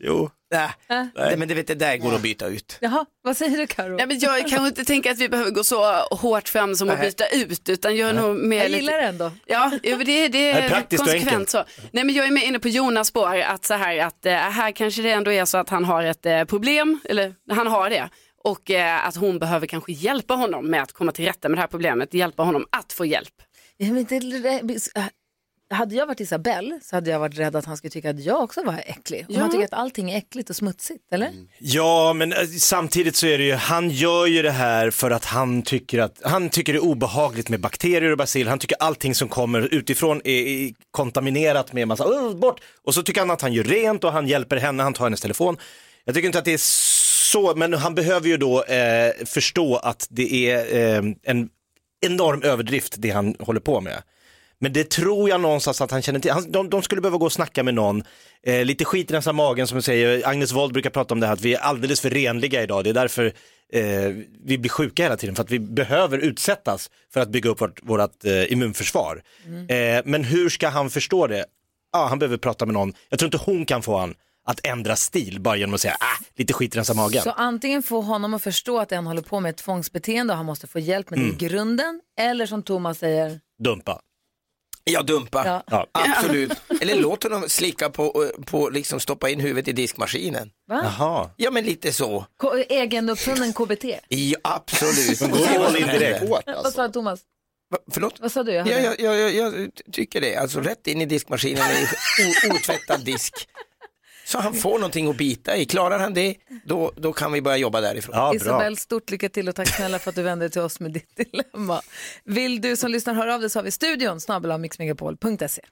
[SPEAKER 3] Jo.
[SPEAKER 8] Nej, Äh, nej, men du vet, det där går att byta ut.
[SPEAKER 1] Jaha, vad säger du Karo?
[SPEAKER 4] Nej, men jag kanske inte tänker att vi behöver gå så hårt fram som att
[SPEAKER 8] Nej.
[SPEAKER 4] byta ut utan jag är nog mer
[SPEAKER 1] Jag
[SPEAKER 4] lite-
[SPEAKER 1] gillar det ändå.
[SPEAKER 4] Ja, jo, men det, det
[SPEAKER 3] Det är
[SPEAKER 4] är
[SPEAKER 3] praktiskt och enkelt.
[SPEAKER 4] konsekvent så. Nej, men jag är mer inne på Jonas spår, att så här, att eh, här kanske det ändå är så att han har ett eh, problem, eller han har det, och eh, att hon behöver kanske hjälpa honom med att komma till rätta med det här problemet, hjälpa honom att få hjälp.
[SPEAKER 1] Ja, men det- det, hade jag varit Isabelle så hade jag varit rädd att han skulle tycka att jag också var äcklig. Om
[SPEAKER 4] Ja.
[SPEAKER 1] han tycker att allting är äckligt och smutsigt, eller?
[SPEAKER 3] Ja, men eh, samtidigt så är det ju, han gör ju det här för att han tycker att, han tycker det är obehagligt med bakterier och basil. Han tycker allting som kommer utifrån är, är kontaminerat med massa, "Åh, bort! Och så tycker han att han gör rent och han hjälper henne, han tar hennes telefon. Jag tycker inte att det är så, men han behöver ju då eh, förstå att det är eh, en enorm överdrift det han håller på med. Men det tror jag någonstans att han känner till. Han, de, de skulle behöva gå och snacka med någon. Eh, lite skit rensa magen som du säger. Agnes Wold brukar prata om det här att vi är alldeles för renliga idag. Det är därför eh, vi blir sjuka hela tiden. För att vi behöver utsättas för att bygga upp vårt, vårt eh, immunförsvar.
[SPEAKER 1] Mm.
[SPEAKER 3] Eh, men hur ska han förstå det? Ja, han behöver prata med någon. Jag tror inte hon kan få han att ändra stil bara genom att säga ah, lite skit rensa magen.
[SPEAKER 1] Så antingen få honom att förstå att en håller på med ett tvångsbeteende och han måste få hjälp med det
[SPEAKER 4] Mm.
[SPEAKER 1] i grunden. Eller som Thomas säger,
[SPEAKER 3] Dumpa.
[SPEAKER 8] Jag
[SPEAKER 4] Ah.
[SPEAKER 8] dumpar.
[SPEAKER 1] Ja.
[SPEAKER 3] Ja.
[SPEAKER 8] Absolut. Eller låt honom slicka på, på liksom stoppa in huvudet i diskmaskinen.
[SPEAKER 1] va?
[SPEAKER 3] Jaha.
[SPEAKER 8] Ja, men lite så.
[SPEAKER 1] K- egenuppfunnen KBT.
[SPEAKER 4] Alltså.
[SPEAKER 8] Ja, absolut.
[SPEAKER 3] Men gå all in direkt.
[SPEAKER 2] Hårt
[SPEAKER 1] Vad
[SPEAKER 2] alltså.
[SPEAKER 1] sa Thomas?
[SPEAKER 8] Va, förlåt?
[SPEAKER 1] Vad sa du? Jag
[SPEAKER 8] Ja,
[SPEAKER 1] hörde.
[SPEAKER 8] jag, jag, jag, jag tycker det. Alltså rätt in i diskmaskinen i o- otvättad disk. Så han får någonting att bita i. Klarar han det, då, då kan vi börja jobba därifrån.
[SPEAKER 3] Ja, bra.
[SPEAKER 1] Isabel, stort lycka till och tack snälla för att du vände dig till oss med ditt dilemma. Vill du som lyssnar höra av dig så har vi studion snabel mixmegapol.se.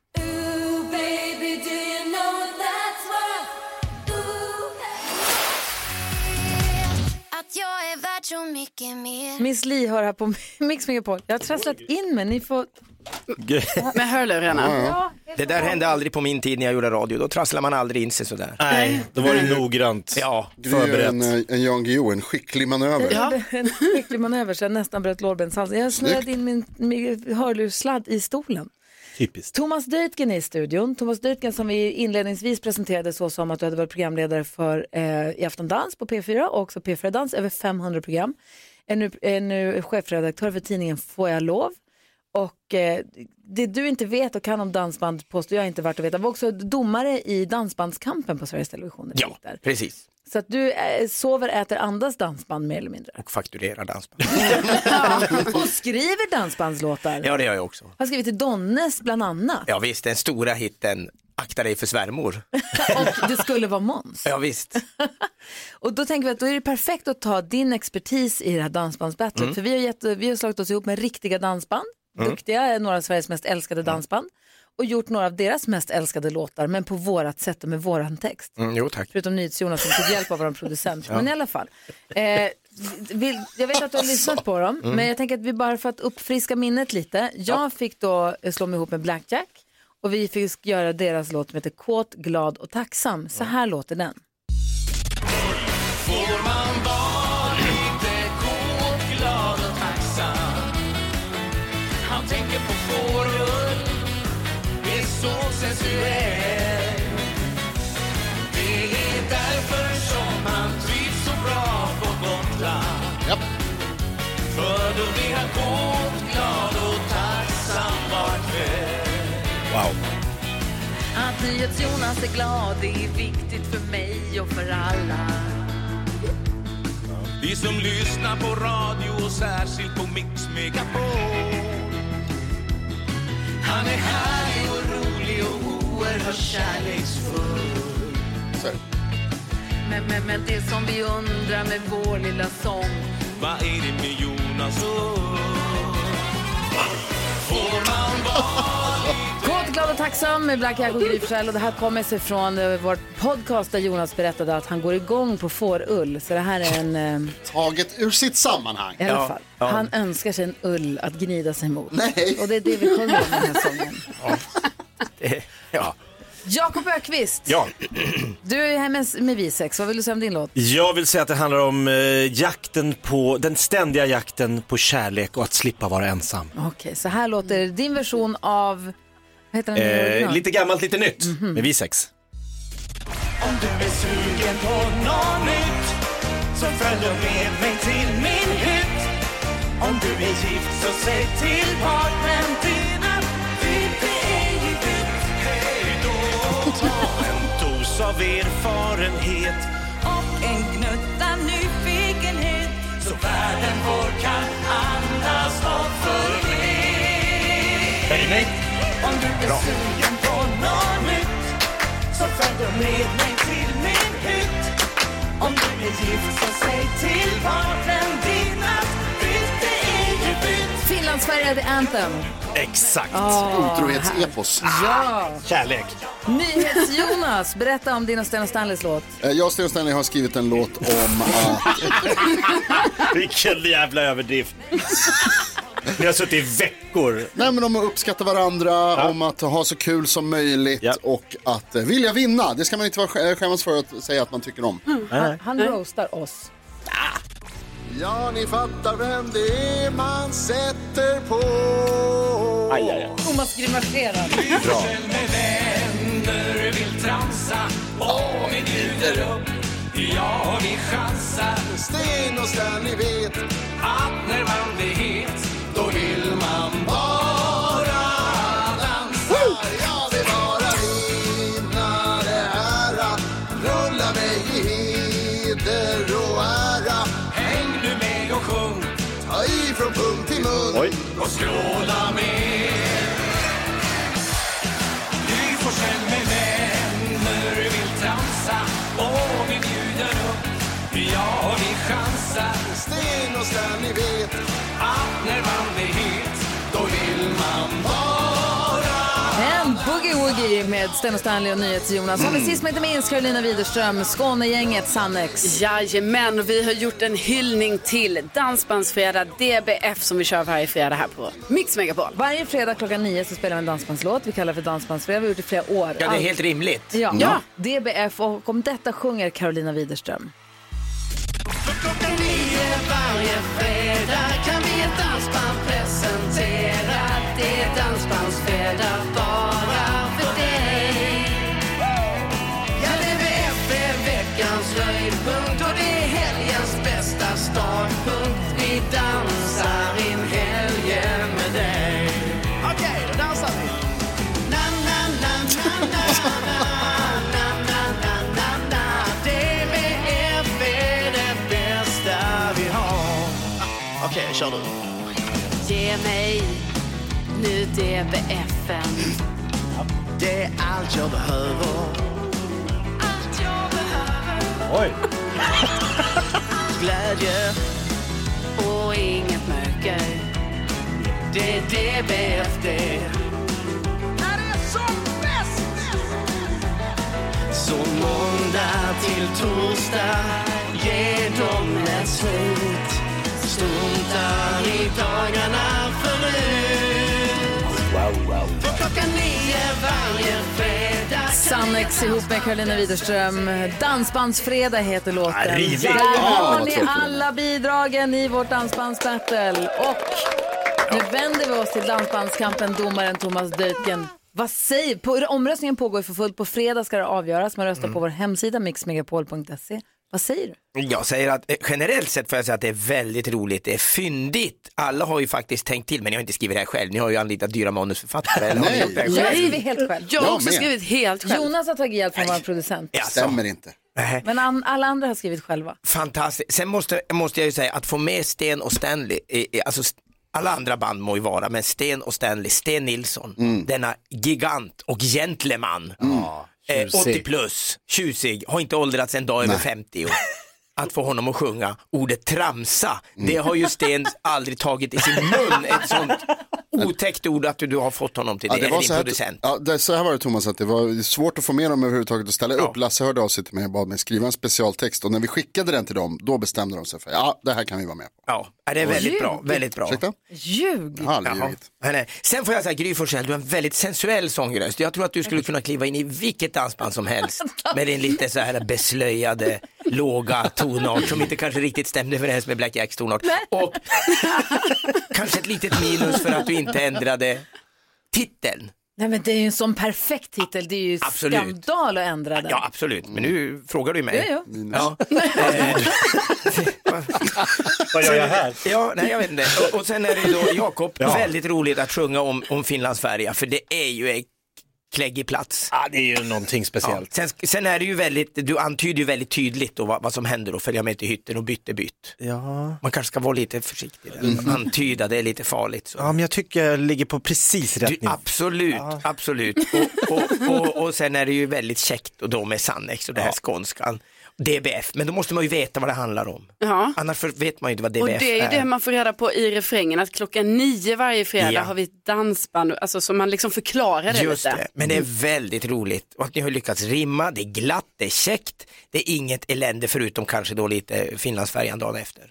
[SPEAKER 7] Att jag är värd så mycket mer.
[SPEAKER 1] Miss Li hör här på Mix Megapol. Jag har trasslat in mig, ni får...
[SPEAKER 4] Med hörlurarna.
[SPEAKER 8] Det där hände aldrig på min tid när jag gjorde radio. Då trasslar man aldrig in sig sådär.
[SPEAKER 3] Nej, då var det noggrant
[SPEAKER 8] Ja.
[SPEAKER 2] Du gör en, eh, en Jan Guillou, en skicklig manöver.
[SPEAKER 4] Ja.
[SPEAKER 1] En skicklig manöver så jag nästan bröt lårbenshalsen. Jag snurrade in min, min hörlurssladd i stolen.
[SPEAKER 3] typiskt.
[SPEAKER 1] Thomas Deutgen är i studion. Thomas Deutgen som vi inledningsvis presenterade så som att du hade varit programledare för eh, i Afton Dans på P4 och också P4 Dans, över 500 program. Är nu, är nu chefredaktör för tidningen Får jag lov? Och eh, det du inte vet och kan om dansband påstår jag inte värt att veta. Var också domare i Dansbandskampen på Sveriges Television. när vi
[SPEAKER 8] Ja,
[SPEAKER 1] gick där.
[SPEAKER 8] precis.
[SPEAKER 1] Så att du eh, sover, äter, andas dansband mer eller mindre.
[SPEAKER 8] Och fakturera dansband.
[SPEAKER 1] Och skriver dansbandslåtar.
[SPEAKER 8] Ja, det gör jag också.
[SPEAKER 1] Har skrivit till Donnes bland annat.
[SPEAKER 8] Ja, visst, den stora hitten Akta dig för svärmor.
[SPEAKER 1] Och det skulle vara Måns.
[SPEAKER 8] Ja, visst.
[SPEAKER 1] Och då tänker vi att då är det perfekt att ta din expertis i det här dansbandsbattlet. För vi har, gett, vi har slagit oss ihop med riktiga dansband, duktiga, några av Sveriges mest älskade dansband. Och gjort några av deras mest älskade låtar, men på vårat sätt och med våran text.
[SPEAKER 8] Mm, jo, tack.
[SPEAKER 1] Förutom NyhetsJonas som fick hjälp av vår producent. Men i alla fall. Eh, vill, jag vet att du har lyssnat på dem, men jag tänker att vi bara för att uppfriska minnet lite. Jag fick då eh, slå mig ihop med Blackjack och vi fick göra deras låt som heter Kåt, glad och tacksam. Så här låter den.
[SPEAKER 3] Wow.
[SPEAKER 1] Att NyhetsJonas är glad, det är viktigt för mig och för alla.
[SPEAKER 9] Vi som lyssnar på radio och särskilt på Mix Megapol Han är härlig och rolig och oerhört kärleksfull
[SPEAKER 2] Så här.
[SPEAKER 1] Men, men, men det som vi undrar med vår lilla sång
[SPEAKER 9] Vad är det med Jonas och Ulf? Får man vara
[SPEAKER 1] Kåt, glad och tacksam med Black Jack och Gry Forssell. och det här kommer sig från eh, vår podcast där Jonas berättade att han går igång på fårull. Så det här är en... eh,
[SPEAKER 2] Taget ur sitt sammanhang.
[SPEAKER 1] I alla fall.
[SPEAKER 8] ja.
[SPEAKER 1] Han önskar sig en ull att gnida sig mot.
[SPEAKER 2] Nej.
[SPEAKER 1] Och det är det vi sjunger om den här sången.
[SPEAKER 8] Ja.
[SPEAKER 1] Jakob Ökvist,
[SPEAKER 3] Ja.
[SPEAKER 1] du är här med, med vi sex. Vad vill du säga om din låt?
[SPEAKER 3] Jag vill säga att det handlar om eh, jakten på, den ständiga jakten på kärlek och att slippa vara ensam.
[SPEAKER 1] Okej, så här låter din version av... Vad heter den? i
[SPEAKER 3] Eh,
[SPEAKER 1] original?
[SPEAKER 3] lite gammalt, lite nytt med vi sex.
[SPEAKER 9] Om du är sugen på något nytt så följ och med mig till min hytt. Om du är gift så säg till partnern din att det är ju ditt. Hej då! Ta en dos av erfarenhet och en gnutta nyfikenhet så världen vår kan andas och förled. Om du är sugen på något nytt så följ då med mig till min hytt. Om du är gift så säg till partnern din att bytt det är ju bytt.
[SPEAKER 1] Finlandsfärja The Anthem.
[SPEAKER 3] Exakt.
[SPEAKER 2] Otrohetsepos.
[SPEAKER 1] Ja!
[SPEAKER 3] Kärlek.
[SPEAKER 1] NyhetsJonas, berätta om din och Sten och Stanleys låt.
[SPEAKER 2] Eh, Jag och Sten Stanley har skrivit en låt om att...
[SPEAKER 3] Vilken jävla överdrift. Ni har suttit i veckor.
[SPEAKER 2] Nej, men om att uppskatta varandra, om att ha så kul som möjligt
[SPEAKER 3] Ja.
[SPEAKER 2] och att eh, vilja vinna. Det ska man inte vara sk- eh, skämmas för att säga att man tycker om.
[SPEAKER 1] Han, han roastar oss.
[SPEAKER 2] Ja, ni fattar vem det är man sätter på.
[SPEAKER 1] Thomas grimaserar.
[SPEAKER 9] Med vänner vill transa och vi bjuder upp. Ja, vi chansar
[SPEAKER 2] Sten och Stanley vet.
[SPEAKER 9] att när man blir het då vill man
[SPEAKER 2] bara dansa. Jag vill bara vinna det här. Rulla mig i heder och ära.
[SPEAKER 9] Häng nu med och sjung
[SPEAKER 2] Ta i från pung till mun.
[SPEAKER 3] Oj.
[SPEAKER 9] och skråla med. Gry Forssell med vänner vill transa och vi bjuder upp. Ja, vi chansar
[SPEAKER 2] Sten och Stanley vet.
[SPEAKER 9] att när man blir het då vill man
[SPEAKER 1] En Boogie Woogie med Sten och Stanley och NyhetsJonas. Och sist men inte minst Carolina Widerström, Skånegänget, Sannex.
[SPEAKER 4] Jajamän, och vi har gjort en hyllning till Dansbandsfredag DBF som vi kör varje fredag här på Mix Megapol.
[SPEAKER 1] Varje fredag klockan nio så spelar vi en dansbandslåt. Vi kallar det för Dansbandsfredag. Vi har gjort det i flera år.
[SPEAKER 8] ja, det är
[SPEAKER 1] Allt-
[SPEAKER 8] helt rimligt.
[SPEAKER 1] Ja. DBF och om detta sjunger Carolina Widerström.
[SPEAKER 4] Ge mig nu DBFen.
[SPEAKER 3] Oj.
[SPEAKER 4] och inget mörker. Det är DBF det.
[SPEAKER 9] Så måndag till torsdag ger dem ett slut Struntar i dagarna förut För klockan nio varje fredag
[SPEAKER 1] Sannex ihop med Carolina Widerström. Dansbandsfredag heter låten.
[SPEAKER 3] Ah, rivigt.
[SPEAKER 1] Där
[SPEAKER 2] vad
[SPEAKER 1] har ni
[SPEAKER 2] tråkigt.
[SPEAKER 1] alla bidragen i vårt dansbandsbattle. Och nu vänder vi oss till dansbandskampen, domaren Thomas Döken. Vad säger, på, omröstningen pågår ju för fullt. På fredag ska det avgöras. Man röstar på vår hemsida mixmegapol.se. Vad säger du?
[SPEAKER 8] Jag säger att eh, generellt sett får jag säga att det är väldigt roligt, det är fyndigt. Alla har ju faktiskt tänkt till, men ni har inte skrivit det här själv, ni har ju anlitat dyra manusförfattare. Eller har ni
[SPEAKER 2] Nej.
[SPEAKER 8] gjort det här
[SPEAKER 1] Jag
[SPEAKER 8] själv?
[SPEAKER 1] har skrivit helt själv.
[SPEAKER 4] Jag har
[SPEAKER 2] Jag
[SPEAKER 4] också
[SPEAKER 2] med.
[SPEAKER 4] skrivit helt själv.
[SPEAKER 1] Jonas har tagit hjälp från vår producent.
[SPEAKER 8] Jaså,
[SPEAKER 2] Stämmer inte.
[SPEAKER 8] nej.
[SPEAKER 1] Men an, alla andra har skrivit själva.
[SPEAKER 8] Fantastiskt. Sen måste, måste jag ju säga att få med Sten och Stanley, eh, eh, alltså st- alla andra band må ju vara, men Sten och Stanley, Sten Nilsson,
[SPEAKER 2] Mm.
[SPEAKER 8] denna gigant och gentleman. Eh, 80 plus, tjusig, har inte åldrats en dag över 50. Och att få honom att sjunga ordet tramsa. Det
[SPEAKER 2] Mm.
[SPEAKER 8] har ju Sten aldrig tagit i sin mun, ett sånt otäckt ord att du, du har fått honom till det, eller din
[SPEAKER 2] här,
[SPEAKER 8] producent.
[SPEAKER 2] ja, det, så här var det Thomas, att det var svårt att få med dem överhuvudtaget att ställa upp. Lasse hörde av sig till mig och bad mig skriva en specialtext och när vi skickade den till dem, då bestämde de sig för ja, det här kan vi vara med på.
[SPEAKER 8] Ja, ja, det är väldigt bra, väldigt bra.
[SPEAKER 2] Ursäkta?
[SPEAKER 1] Ljug!
[SPEAKER 2] Jag har aldrig
[SPEAKER 8] Jaha.
[SPEAKER 2] ljugit.
[SPEAKER 8] Nej, nej. Sen får jag säga Gry Forssell, du har en väldigt sensuell sångröst. Jag tror att du skulle kunna kliva in i vilket dansband som helst med din lite så här beslöjade, låga tonart som inte kanske riktigt stämde överens med Black Jacks tonart. Och kanske ett litet minus för att du inte ändrade titeln.
[SPEAKER 1] Nej men det är ju en sån perfekt titel, det är ju
[SPEAKER 8] Absolut.
[SPEAKER 1] skandal att ändra den.
[SPEAKER 8] Ja, absolut, men nu frågar du ju mig.
[SPEAKER 1] Ja,
[SPEAKER 8] Ja. Eh,
[SPEAKER 3] Vad gör jag här?
[SPEAKER 8] Ja, nej jag vet inte. Och, och sen är det ju då Jakob, väldigt roligt att sjunga om, om Finlandsfärja för det är ju en kläggig plats.
[SPEAKER 3] Ah, det är ju någonting speciellt.
[SPEAKER 8] Sen, sen är det ju väldigt, du antyder ju väldigt tydligt då vad, vad som händer och följa med till hytten och bytte bytt.
[SPEAKER 3] Ja.
[SPEAKER 8] Man kanske ska vara lite försiktig där. Antyda, det är lite farligt. Så.
[SPEAKER 3] ja, men jag tycker jag ligger på precis
[SPEAKER 8] Du,
[SPEAKER 3] rätt nivå.
[SPEAKER 8] absolut, absolut. Och, och, och, och sen är det ju väldigt käckt och då med Sannex och det här skånskan. DBF, men då måste man ju veta vad det handlar om.
[SPEAKER 4] Ja.
[SPEAKER 8] Annars för- vet man ju inte vad DBF
[SPEAKER 4] Och det är ju det man får reda på i refrängen att klockan nio varje fredag
[SPEAKER 8] Ja.
[SPEAKER 4] har vi ett dansband, alltså så man liksom förklarar det
[SPEAKER 8] Just
[SPEAKER 4] lite.
[SPEAKER 8] det, men det är väldigt roligt. Och att ni har lyckats rimma, det är glatt, det är käckt, det är inget elände förutom kanske då lite Finlandsfärjan dagen efter.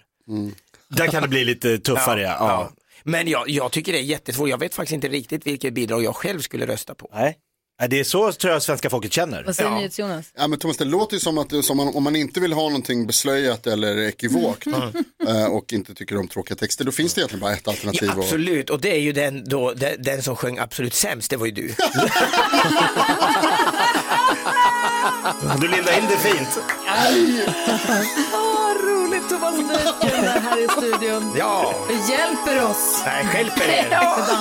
[SPEAKER 3] Där kan det bli lite tuffare, ja.
[SPEAKER 8] Ja. Men jag, jag tycker det är jättesvårt, jag vet faktiskt inte riktigt vilket bidrag jag själv skulle rösta på.
[SPEAKER 3] Nej. Nej, Det är så tror jag svenska folket känner.
[SPEAKER 1] Vad säger
[SPEAKER 8] Ja.
[SPEAKER 1] NyhetsJonas?
[SPEAKER 2] Ja, men Thomas, det låter ju som att som man, om man inte vill ha någonting beslöjat eller ekivokt
[SPEAKER 8] Mm.
[SPEAKER 2] eh, och inte tycker om tråkiga texter, då finns det egentligen bara ett alternativ.
[SPEAKER 8] Ja,
[SPEAKER 2] och-
[SPEAKER 8] absolut, och det är ju den, då, den, den som sjöng absolut sämst, det var ju du.
[SPEAKER 3] Du lindar in det fint.
[SPEAKER 1] Vad roligt Thomas Nyhetsjonas här i studion.
[SPEAKER 8] Ja,
[SPEAKER 1] Du hjälper oss
[SPEAKER 8] nej stjälper er.
[SPEAKER 1] med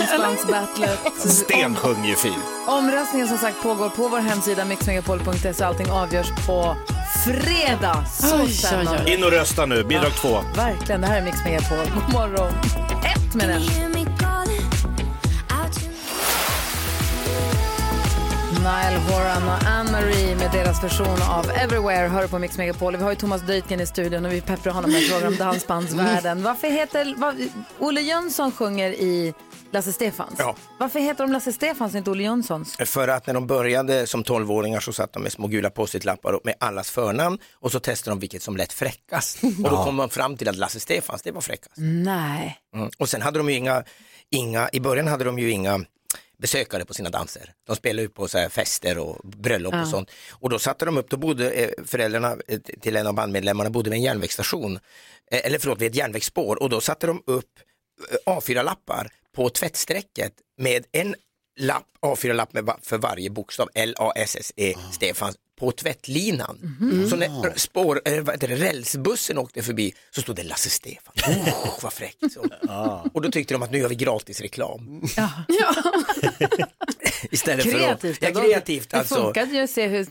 [SPEAKER 1] dansbandsbattlet.
[SPEAKER 3] Sten sjunger ju fint.
[SPEAKER 1] Omröstningen som sagt pågår på vår hemsida mixmegapol.se. Allting avgörs på fredag. Så
[SPEAKER 4] Oj,
[SPEAKER 1] spännande.
[SPEAKER 4] oj, oj.
[SPEAKER 3] In och rösta nu, bidrag två.
[SPEAKER 1] Verkligen, det här är Mix Megapol. God morgon. Ett minut. Nile Horan och Ann-Marie med deras version av Everywhere hör på Mix Megapol. Vi har ju Thomas Döjtgen i studion och vi pepprar honom med frågor om dansbandsvärlden. Varför heter... Vad, Olle Jönsson sjunger i Lasse Stefans.
[SPEAKER 8] Ja.
[SPEAKER 1] Varför heter de Lasse Stefans och inte Olle Jönssons?
[SPEAKER 8] För att när de började som 12-åringar så satt de med små gula post-it-lappar och med allas förnamn och så testade de vilket som lät fräckast. Och då kom man fram till att Lasse Stefans det var fräckast.
[SPEAKER 1] Nej.
[SPEAKER 8] Mm. Och sen hade de ju inga, inga, i början hade de ju inga besökare på sina danser. De spelade ju på så här fester och bröllop och sånt. Och då satte de upp, då bodde eh, föräldrarna eh, t- till en av bandmedlemmarna bodde vid en järnvägsstation, eh, eller förlåt vid ett järnvägsspår och då satte de upp eh, A4-lappar på tvättstrecket med en lapp, A4-lapp med va- för varje bokstav, L-A-S-S-E, Stefans, E, på tvättlinan. Så när spår, eh, vad heter det, rälsbussen åkte förbi så stod det Lasse Stefan. Oh, Ah. vad fräckt. Så. Och då tyckte de att nu gör vi gratis reklam. Istället
[SPEAKER 1] Kreativt.
[SPEAKER 8] för att, ja, kreativt
[SPEAKER 1] det
[SPEAKER 8] alltså.
[SPEAKER 1] funkade ju att se hur...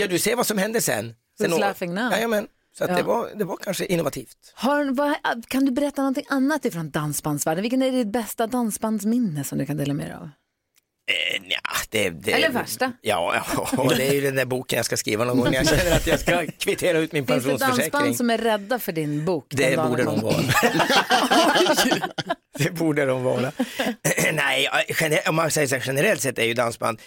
[SPEAKER 8] Ja, du ser vad som hände sen. sen
[SPEAKER 1] Who's laughing now?
[SPEAKER 8] Jajamän. Så att
[SPEAKER 1] Ja.
[SPEAKER 8] det, var, det var kanske innovativt.
[SPEAKER 1] Har, vad, ah, kan du berätta någonting annat ifrån dansbandsvärlden? Vilken är ditt bästa dansbandsminne som du kan dela med dig av?
[SPEAKER 8] Eh, nja, det, det,
[SPEAKER 1] Eller värsta.
[SPEAKER 8] Ja, ja, och det är ju den där boken jag ska skriva någon gång när jag känner att jag ska kvittera ut min
[SPEAKER 1] Finns det
[SPEAKER 8] pensionsförsäkring.
[SPEAKER 1] dansband som är rädda för din bok? den
[SPEAKER 8] Det
[SPEAKER 1] dagen
[SPEAKER 8] borde de
[SPEAKER 1] kommer?
[SPEAKER 8] vara. det borde de vara. Nej, gener- om man säger så här, generellt sett är ju dansband,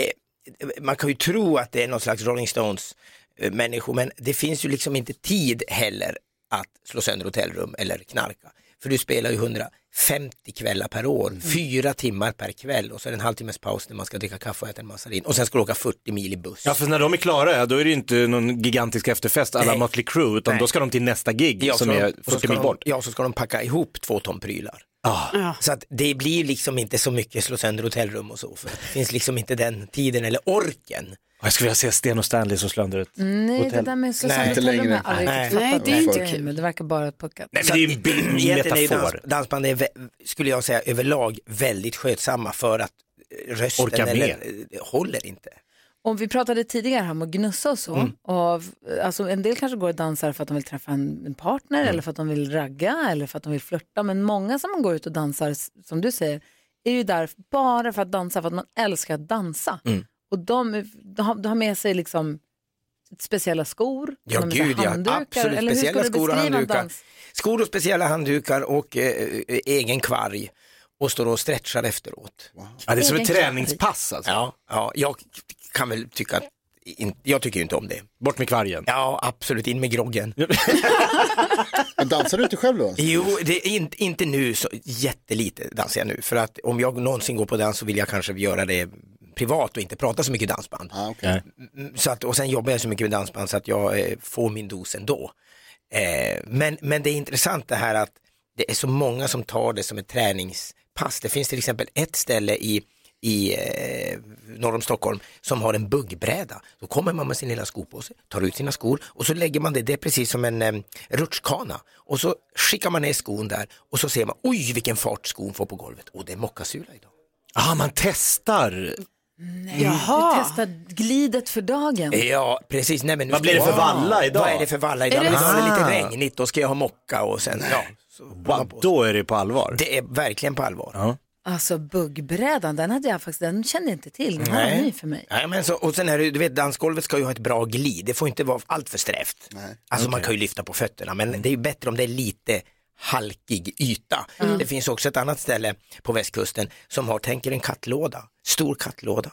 [SPEAKER 8] eh, man kan ju tro att det är någon slags Rolling Stones eh, människor, men det finns ju liksom inte tid heller att slå sönder hotellrum eller knarka. För du spelar ju 150 kvällar per år, fyra timmar per kväll och så är det en halvtimmes paus när man ska dricka kaffe och äta en mazarin och sen ska du åka 40 mil i buss.
[SPEAKER 3] Ja, för när de är klara, ja, då är det ju inte någon gigantisk efterfest alla
[SPEAKER 8] Nej.
[SPEAKER 3] Mötley Crue, utan
[SPEAKER 8] Nej.
[SPEAKER 3] då ska de till nästa gig
[SPEAKER 8] Ja,
[SPEAKER 3] som
[SPEAKER 8] så
[SPEAKER 3] är
[SPEAKER 8] de- så
[SPEAKER 3] 40
[SPEAKER 8] ska
[SPEAKER 3] mil
[SPEAKER 8] de-
[SPEAKER 3] bort.
[SPEAKER 8] Ja, så ska de packa ihop två ton prylar.
[SPEAKER 3] Ah.
[SPEAKER 8] Så att det blir liksom inte så mycket slå sönder hotellrum och så, för det finns liksom inte den tiden eller orken.
[SPEAKER 3] Jag skulle vilja se Sten och Stanley som slår under ett
[SPEAKER 1] Nej,
[SPEAKER 3] hotell.
[SPEAKER 1] det där med Susanne
[SPEAKER 8] Nej,
[SPEAKER 2] inte
[SPEAKER 1] Tellum
[SPEAKER 2] längre.
[SPEAKER 1] har jag aldrig
[SPEAKER 8] Nej.
[SPEAKER 1] riktigt fattat.
[SPEAKER 4] Nej, det är inte
[SPEAKER 1] grejen,
[SPEAKER 4] kul.
[SPEAKER 1] men Det verkar bara puckat.
[SPEAKER 3] Nej,
[SPEAKER 8] Så
[SPEAKER 3] men det är
[SPEAKER 8] att
[SPEAKER 3] ju en bild, en
[SPEAKER 8] egentligen är ju dans,
[SPEAKER 3] metafor.
[SPEAKER 8] dansband är, vä- skulle jag säga, överlag väldigt skötsamma för att eh, rösten
[SPEAKER 3] Orkar med.
[SPEAKER 8] eller, eh, håller inte.
[SPEAKER 1] Och vi pratade tidigare här om att gnussa och så.
[SPEAKER 8] Mm.
[SPEAKER 1] Och, alltså, en del kanske går och dansar för att de vill träffa en en partner
[SPEAKER 8] Mm.
[SPEAKER 1] eller för att de vill ragga eller för att de vill flirta. Men många som går ut och dansar, s- som du säger, är ju där bara
[SPEAKER 8] Mm.
[SPEAKER 1] för att dansa, för att man älskar att dansa. Och de, de, har, de har med sig liksom speciella skor?
[SPEAKER 8] Ja,
[SPEAKER 1] med
[SPEAKER 8] gud ja.
[SPEAKER 1] handdukar,
[SPEAKER 8] Absolut.
[SPEAKER 1] Eller hur
[SPEAKER 8] Speciella
[SPEAKER 1] skulle du
[SPEAKER 8] skor och
[SPEAKER 1] beskriva en
[SPEAKER 8] handdukar.
[SPEAKER 1] dans?
[SPEAKER 8] Skor och speciella handdukar och eh, eh, egen kvarg. Och står och stretchar efteråt.
[SPEAKER 3] Ja, det är som ett
[SPEAKER 1] Egen kvarg.
[SPEAKER 3] träningspass alltså.
[SPEAKER 8] Ja, ja jag kan väl tycka att, in, jag tycker ju inte om det.
[SPEAKER 3] Bort med kvargen.
[SPEAKER 8] Ja, absolut, in med groggen.
[SPEAKER 2] Men dansar du inte själv då?
[SPEAKER 8] Jo, det är in, inte nu, så jättelite dansar jag nu. För att om jag någonsin går på dans så vill jag kanske göra det privat och inte prata så mycket dansband.
[SPEAKER 2] Ah, okej.
[SPEAKER 8] Mm, Så att, och sen jobbar jag så mycket med dansband så att jag eh, får min dos ändå. Eh, men, men det är intressant det här att det är så många som tar det som ett träningspass. Det finns till exempel ett ställe i, i eh, norr om Stockholm som har en buggbräda. Då kommer man med sin lilla skopåse, tar ut sina skor och så lägger man det, det är precis som en eh, rutschkana. Och så skickar man ner skon där och så ser man, oj vilken fart skon får på golvet. Och det är mockasula idag.
[SPEAKER 3] Ah, man testar.
[SPEAKER 1] Du testar glidet för dagen.
[SPEAKER 8] Ja, precis. Nej, men nu
[SPEAKER 3] Vad
[SPEAKER 8] ska
[SPEAKER 3] blir det
[SPEAKER 8] jag-
[SPEAKER 3] för valla idag?
[SPEAKER 8] Vad är det för valla idag?
[SPEAKER 1] det
[SPEAKER 8] Idag är det
[SPEAKER 3] så?
[SPEAKER 8] lite regnigt, då ska jag ha mocka och sen, ja. Så håller man
[SPEAKER 3] Wow,
[SPEAKER 8] på.
[SPEAKER 3] då är det på allvar.
[SPEAKER 8] Det är verkligen på allvar.
[SPEAKER 3] Ja.
[SPEAKER 1] Alltså buggbrädan, den hade jag faktiskt, den kände jag inte till. Den var
[SPEAKER 8] Nej.
[SPEAKER 1] ny för mig.
[SPEAKER 8] Nej, men så, och sen är det, du vet, dansgolvet ska ju ha ett bra glid, det får inte vara allt för strävt. Alltså man kan ju lyfta på fötterna,
[SPEAKER 3] Mm.
[SPEAKER 8] men det är ju bättre om det är lite halkig yta. Det finns också ett annat ställe på västkusten som har, tänker en kattlåda, stor kattlåda.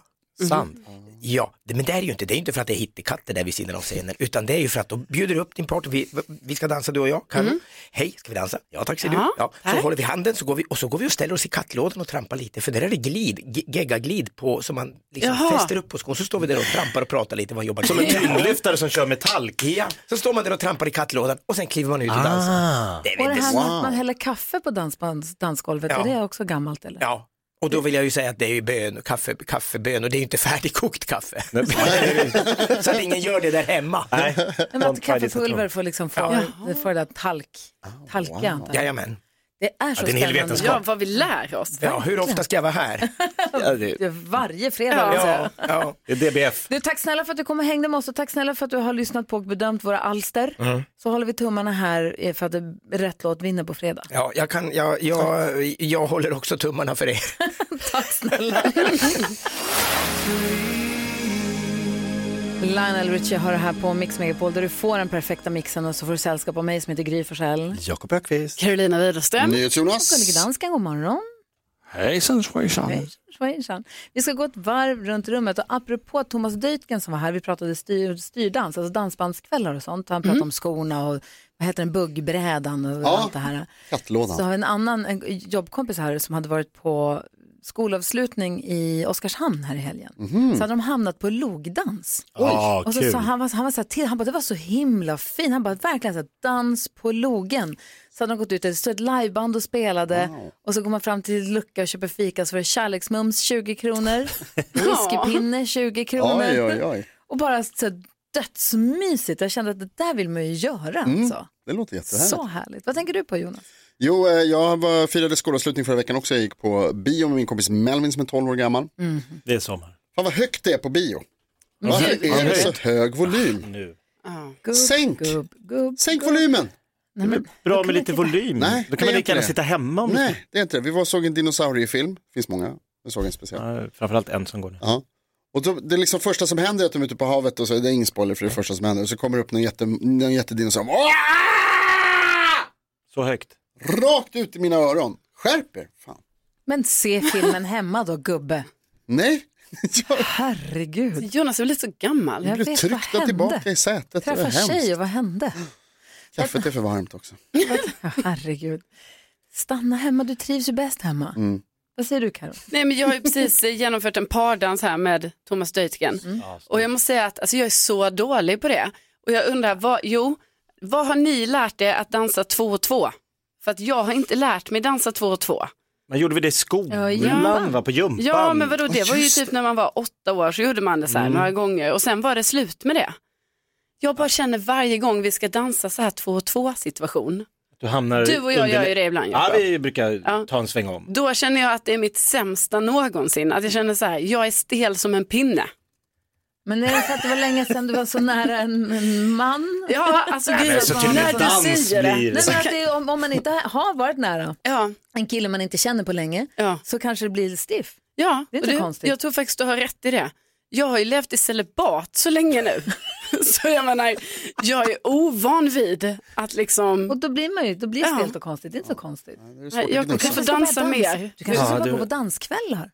[SPEAKER 3] Sant.
[SPEAKER 8] Ja, det, men det är ju inte, det är ju inte för att det är hittekatter där vid sidan av scenen, utan det är ju för att de bjuder upp din partner, vi, vi ska dansa du och jag, Carro. Hej, ska vi dansa? Ja tack säger
[SPEAKER 4] Ja,
[SPEAKER 8] du. Ja, så
[SPEAKER 4] tack.
[SPEAKER 8] håller vi handen så går vi, och så går vi och ställer oss i kattlådan och trampar lite, för där är det glid, ge- geggaglid på, som man liksom
[SPEAKER 4] Jaha.
[SPEAKER 8] fäster upp på skon, så står vi där och trampar och pratar lite, man jobbar
[SPEAKER 3] Som en tyngdlyftare som kör metall.
[SPEAKER 8] Ja, så står man där och trampar i kattlådan och sen kliver man ut och dansar.
[SPEAKER 3] Ah.
[SPEAKER 8] Det är väl
[SPEAKER 1] Och det
[SPEAKER 8] inte
[SPEAKER 1] här
[SPEAKER 8] så-
[SPEAKER 1] med att man häller kaffe på dansbands, dansgolvet,
[SPEAKER 8] Ja.
[SPEAKER 1] är det också gammalt eller?
[SPEAKER 8] Ja, och då vill jag ju säga att det är ju bön, kaffe, kaffebön och det är ju inte färdigkokt kaffe. så att ingen gör det där hemma.
[SPEAKER 3] Nej.
[SPEAKER 1] Nej, men att kaffepulver får liksom få,
[SPEAKER 8] Ja.
[SPEAKER 1] det får det där talk, talka. antar jag.
[SPEAKER 8] Jajamän.
[SPEAKER 1] Det är så
[SPEAKER 3] det är en hel
[SPEAKER 1] spännande.
[SPEAKER 3] vetenskap.
[SPEAKER 4] Ja, vad vi lär oss.
[SPEAKER 8] Ja, hur ofta ska jag vara här?
[SPEAKER 3] Ja, det-
[SPEAKER 1] Ja, Varje fredag. alltså.
[SPEAKER 8] Ja, ja.
[SPEAKER 3] Det är DBF.
[SPEAKER 1] Du, tack snälla för att du kom och hängde med oss och tack snälla för att du har lyssnat på och bedömt våra alster. Så håller vi tummarna här eh, för att det- rätt låt vinner på fredag.
[SPEAKER 8] ja jag, kan, jag, jag, jag håller också tummarna för er.
[SPEAKER 1] Tack snälla. Lionel Richie har det här på Mix Megapol där du får den perfekta mixen och så får du sällskap av mig som heter Gry Forssell.
[SPEAKER 3] Jakob Ökvist.
[SPEAKER 4] Carolina Widerström.
[SPEAKER 1] Gullige
[SPEAKER 2] NyhetsJonas.
[SPEAKER 1] dansken, god morgon.
[SPEAKER 5] Hejsan svejsan.
[SPEAKER 1] Schweizern. Vi ska gå ett varv runt rummet och apropå Thomas Deutgen som var här, vi pratade styr, styrdans, alltså dansbandskvällar och sånt. Han pratade om skorna och vad heter den, buggbrädan och
[SPEAKER 2] Ja.
[SPEAKER 1] allt det här. Så
[SPEAKER 2] Kattlådan.
[SPEAKER 1] har vi en annan en jobbkompis här som hade varit på skolavslutning i Oskarshamn här i helgen.
[SPEAKER 2] Mhm.
[SPEAKER 1] Så hade de hamnat på logdans.
[SPEAKER 2] Ah,
[SPEAKER 3] Ja,
[SPEAKER 1] och så,
[SPEAKER 3] kul.
[SPEAKER 1] sa han, var, han var så här till, han bara det var så himla fint, han bara verkligen så här, dans på logen. Så hade de gått ut, det stod ett liveband och spelade och så går man fram till lucka och köper fika så var det kärleksmums 20 kronor, whiskypinne 20 kronor
[SPEAKER 2] Oj, oj, oj.
[SPEAKER 1] och bara så här, dödsmysigt. Jag kände att det där vill man ju göra alltså.
[SPEAKER 2] Mm. Det låter jättehärligt.
[SPEAKER 1] Så härligt. Vad tänker du på Jonas?
[SPEAKER 2] Jo, eh, jag var, firade skolavslutning förra veckan också. Jag gick på bio med min kompis Melvin som är 12 år gammal.
[SPEAKER 3] Det är sommar.
[SPEAKER 2] Fan vad högt det är på bio.
[SPEAKER 1] Men
[SPEAKER 2] Varför
[SPEAKER 1] gud,
[SPEAKER 2] är det så hög volym?
[SPEAKER 3] Nu.
[SPEAKER 1] Gubb,
[SPEAKER 2] Sänk.
[SPEAKER 1] Gubb, gubb,
[SPEAKER 2] Sänk
[SPEAKER 1] gubb.
[SPEAKER 2] volymen!
[SPEAKER 1] Nej, men,
[SPEAKER 3] Bra
[SPEAKER 1] då kan vi
[SPEAKER 3] med lite
[SPEAKER 1] titta.
[SPEAKER 3] volym.
[SPEAKER 2] Nej,
[SPEAKER 3] Då
[SPEAKER 2] det
[SPEAKER 3] kan man
[SPEAKER 2] är
[SPEAKER 3] lika
[SPEAKER 2] inte
[SPEAKER 3] gärna
[SPEAKER 2] det.
[SPEAKER 3] sitta hemma om Nej.
[SPEAKER 2] Nej, det är inte det. Vi var och såg en dinosauriefilm. Det finns många. Jag såg en speciell.
[SPEAKER 3] Framförallt en som går nu.
[SPEAKER 2] Ja. Och då, det är liksom första som händer är att de är ute på havet och så är det ingen spoiler för det är första som händer. Och så kommer det upp någon, jätte, någon jättedinosaurie. Åh!
[SPEAKER 3] Så högt.
[SPEAKER 2] Rakt ut i mina öron. Skärp er. Fan.
[SPEAKER 1] Men se filmen hemma då gubbe.
[SPEAKER 2] Nej, jag
[SPEAKER 1] Herregud.
[SPEAKER 4] Jonas är väl lite så gammal?
[SPEAKER 1] Jag
[SPEAKER 2] blev
[SPEAKER 1] vet, vad
[SPEAKER 2] tryckt
[SPEAKER 1] hände?
[SPEAKER 2] tillbaka i sätet. Det var
[SPEAKER 1] Träffa
[SPEAKER 2] hemskt.
[SPEAKER 1] tjej och vad hände?
[SPEAKER 2] Kaffet är för varmt också.
[SPEAKER 1] Ja, herregud. Stanna hemma, du trivs ju bäst hemma.
[SPEAKER 2] Mm.
[SPEAKER 1] Vad säger du Karo?
[SPEAKER 4] Nej men jag har ju precis eh, genomfört en pardans här med Thomas Deutgen. Och jag måste säga att alltså, jag är så dålig på det. Och jag undrar, vad, jo, vad har ni lärt er att dansa två och två? För att jag har inte lärt mig dansa två och två.
[SPEAKER 3] Men gjorde vi det i
[SPEAKER 1] Ja,
[SPEAKER 3] skolan?
[SPEAKER 1] jumpan.
[SPEAKER 3] va? På jumpan?
[SPEAKER 4] Ja men vadå, det
[SPEAKER 2] Ja,
[SPEAKER 4] var ju
[SPEAKER 2] just
[SPEAKER 4] typ när man var åtta år så gjorde man det så här några gånger och sen var det slut med det. Jag bara känner varje gång vi ska dansa så här två och två situation.
[SPEAKER 3] Du, hamnar
[SPEAKER 4] Du och jag
[SPEAKER 3] under-
[SPEAKER 4] gör ju det ibland.
[SPEAKER 3] Ja,
[SPEAKER 4] Jakob.
[SPEAKER 3] vi brukar
[SPEAKER 4] Ja.
[SPEAKER 3] ta en sväng om.
[SPEAKER 4] Då känner jag att det är mitt sämsta någonsin. Att jag känner så här, jag är stel som en pinne.
[SPEAKER 1] Men är det för att det var länge sedan du var så nära en, en man?
[SPEAKER 4] Ja, alltså gud,
[SPEAKER 1] men så till och med
[SPEAKER 4] när
[SPEAKER 3] dans
[SPEAKER 4] du säger
[SPEAKER 3] blir-
[SPEAKER 4] det.
[SPEAKER 1] Nej, men att det, är- om, om man inte har varit nära
[SPEAKER 4] liksom- Ja,
[SPEAKER 1] en kille man inte känner på länge
[SPEAKER 4] ja,
[SPEAKER 1] så kanske det blir stiff.
[SPEAKER 4] ja.
[SPEAKER 1] Det är inte
[SPEAKER 4] och du,
[SPEAKER 1] konstigt.
[SPEAKER 4] Jag tror faktiskt du har rätt i det. Jag har ju levt i celibat så länge nu. så jag menar, jag är ovan vid att liksom...
[SPEAKER 1] Och då blir man ju, då blir det
[SPEAKER 4] Ja.
[SPEAKER 1] stelt och konstigt, det är inte så konstigt.
[SPEAKER 4] Nej, Jag
[SPEAKER 1] Du
[SPEAKER 4] kanske får
[SPEAKER 1] ska börja
[SPEAKER 4] dansa
[SPEAKER 1] dans.
[SPEAKER 4] mer.
[SPEAKER 1] Du kanske ska
[SPEAKER 3] Ja,
[SPEAKER 1] börja
[SPEAKER 3] du- Ah,
[SPEAKER 1] gå på danskvällar.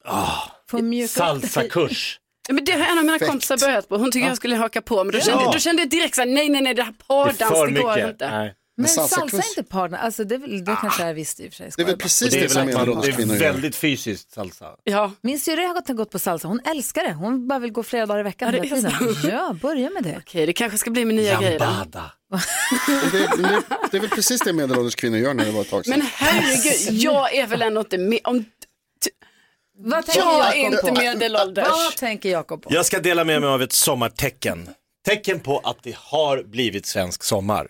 [SPEAKER 1] För att mjuka upp dig.
[SPEAKER 3] Salsakurs.
[SPEAKER 4] Ja, Men det har en av mina kompisar börjat på. Hon tyckte jag skulle haka på. Men då kände, då kände jag direkt så här, nej, nej, nej, det här pardans,
[SPEAKER 3] Det är för
[SPEAKER 4] det, går
[SPEAKER 3] mycket.
[SPEAKER 4] inte.
[SPEAKER 3] Nej.
[SPEAKER 1] Men
[SPEAKER 2] salsa
[SPEAKER 1] salsa är
[SPEAKER 2] kurs. Ah.
[SPEAKER 1] inte partner, alltså det, är väl- det kanske är visst i och för sig.
[SPEAKER 2] Det
[SPEAKER 1] ska
[SPEAKER 2] är väl
[SPEAKER 1] jag bara-
[SPEAKER 2] precis
[SPEAKER 3] Det
[SPEAKER 2] det,
[SPEAKER 3] är,
[SPEAKER 2] som
[SPEAKER 3] väl att man, det
[SPEAKER 2] medelålderskvinnor
[SPEAKER 3] är
[SPEAKER 2] gör.
[SPEAKER 3] väldigt fysiskt salsa.
[SPEAKER 4] Ja.
[SPEAKER 1] Min syrra har gått- gått på salsa, hon älskar det. Hon bara vill gå flera dagar i veckan
[SPEAKER 4] Ja, det
[SPEAKER 1] hela
[SPEAKER 4] är
[SPEAKER 1] tiden. Ja, börja med det.
[SPEAKER 4] Okej, det kanske ska bli min nya grej. då.
[SPEAKER 3] Lambada.
[SPEAKER 2] Och Det, det, det är väl precis det medelålderskvinnor gör när det var ett tag sedan.
[SPEAKER 4] Men herregud, jag är väl ändå inte med om...
[SPEAKER 1] Vad tänker
[SPEAKER 4] Jag är
[SPEAKER 1] Jakob
[SPEAKER 4] inte
[SPEAKER 1] på?
[SPEAKER 4] medelålders.
[SPEAKER 1] Vad tänker Jakob på?
[SPEAKER 3] Jag ska dela med mig av ett sommartecken. Tecken på att det har blivit svensk sommar.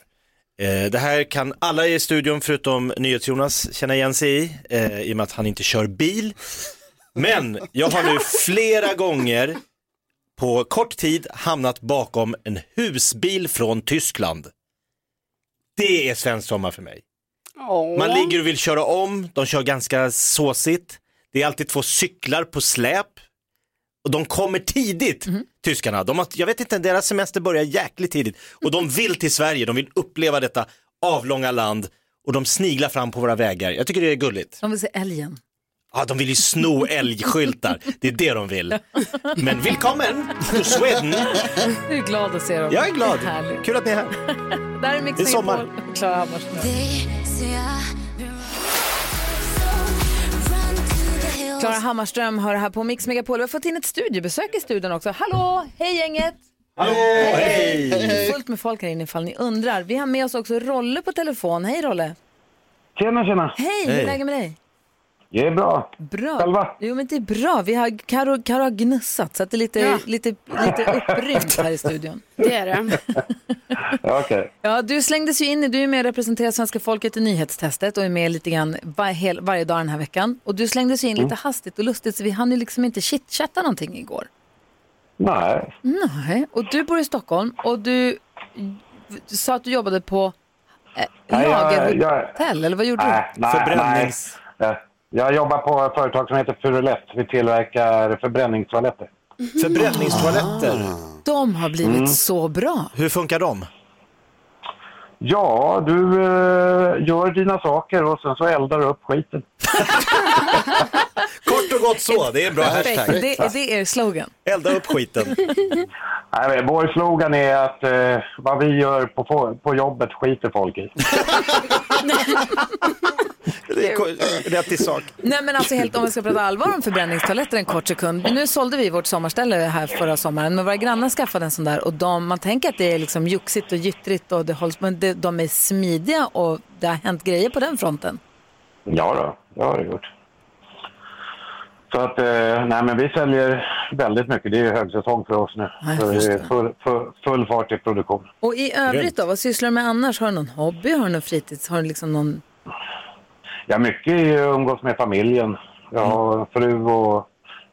[SPEAKER 3] Eh, Det här kan alla i studion förutom NyhetsJonas känna igen sig i, eh, i och med att han inte kör bil. Men jag har nu flera gånger på kort tid hamnat bakom en husbil från Tyskland. Det är svensk sommar för mig.
[SPEAKER 4] Åh.
[SPEAKER 3] Man ligger och vill köra om, de kör ganska såsigt. Det är alltid två cyklar på släp. Och de kommer tidigt, tyskarna. De har, jag vet inte, deras semester börjar jäkligt tidigt. Och de vill till Sverige, de vill uppleva detta avlånga land. Och de sniglar fram på våra vägar. Jag tycker det är gulligt.
[SPEAKER 1] De vill se älgen.
[SPEAKER 3] Ja, de vill ju sno älgskyltar. Det är det de vill. Men välkommen till Sweden.
[SPEAKER 1] Du är glad att se dem.
[SPEAKER 3] Jag är glad.
[SPEAKER 1] Det är härligt.
[SPEAKER 3] Kul att ni är här.
[SPEAKER 1] Det här är Mix
[SPEAKER 3] Det är sommar.
[SPEAKER 1] Megapol och Klara Hammarström. Klara Hammarström hör här på Mix Megapol. Vi har fått in ett studiebesök i studion också. Hallå, hej gänget!
[SPEAKER 3] Hallå, hej!
[SPEAKER 1] Det är fullt med folk här inne ifall ni undrar. Vi har med oss också Rolle på telefon. Hej Rolle!
[SPEAKER 10] Tjena, tjena.
[SPEAKER 1] Hej, hur är läget med dig?
[SPEAKER 10] Det är bra.
[SPEAKER 1] Bra.
[SPEAKER 10] Själva?
[SPEAKER 1] Jo men det är bra. Vi har, Karo, Karo har gnussat så att det är lite,
[SPEAKER 4] Ja.
[SPEAKER 1] lite, lite upprymt här i studion.
[SPEAKER 4] Det är det.
[SPEAKER 10] Ja, Okej.
[SPEAKER 1] Ja, du slängdes ju in, i- du är med och representerar svenska folket i nyhetstestet och är med lite grann var, hel, varje dag den här veckan. Och du slängdes ju
[SPEAKER 10] Mm.
[SPEAKER 1] in lite hastigt och lustigt så vi hann ju liksom inte chitchatta någonting igår.
[SPEAKER 10] Nej.
[SPEAKER 1] Nej, och du bor i Stockholm och du, du sa att du jobbade på eh,
[SPEAKER 10] Nej, jag-
[SPEAKER 1] lagerhotell, eller vad gjorde
[SPEAKER 10] Nej, nej,
[SPEAKER 3] Förbrännings-
[SPEAKER 10] nej. Eh, Jag jobbar på ett företag som heter Furulett. Vi tillverkar förbränningstoaletter.
[SPEAKER 3] Förbränningstoaletter,
[SPEAKER 1] du? De har blivit
[SPEAKER 10] Mm.
[SPEAKER 1] så bra.
[SPEAKER 3] hur funkar de?
[SPEAKER 10] Ja, du eh, gör dina saker och sen så eldar du upp skiten.
[SPEAKER 3] Kort och gott så, det är en bra hashtag.
[SPEAKER 1] Det, det är er slogan.
[SPEAKER 3] Elda upp skiten.
[SPEAKER 10] Nej, men vår slogan är att eh, vad vi gör på, fo- på jobbet skiter folk i.
[SPEAKER 3] Det är Rätt i sak.
[SPEAKER 1] Nej men alltså helt om vi ska prata allvar om förbränningstoaletter en kort sekund. Nu sålde vi vårt sommarställe här förra sommaren men våra grannar skaffade en sån där och de, man tänker att det är liksom juxigt och gyttrigt och det hålls, men det, de är smidiga och det har hänt grejer på den fronten.
[SPEAKER 10] Ja då, det har det gjort. Så att, eh, nej men vi säljer väldigt mycket. Det är ju högsäsong för oss nu.
[SPEAKER 1] Ja,
[SPEAKER 10] Så
[SPEAKER 1] just
[SPEAKER 10] det är
[SPEAKER 1] det.
[SPEAKER 10] full, full, full fart i produktion.
[SPEAKER 1] Och i övrigt då, vad sysslar du med annars? Har du någon hobby? Har du någon fritids? Har du liksom någon...
[SPEAKER 10] Ja, mycket är ju att umgås med familjen. Jag har fru och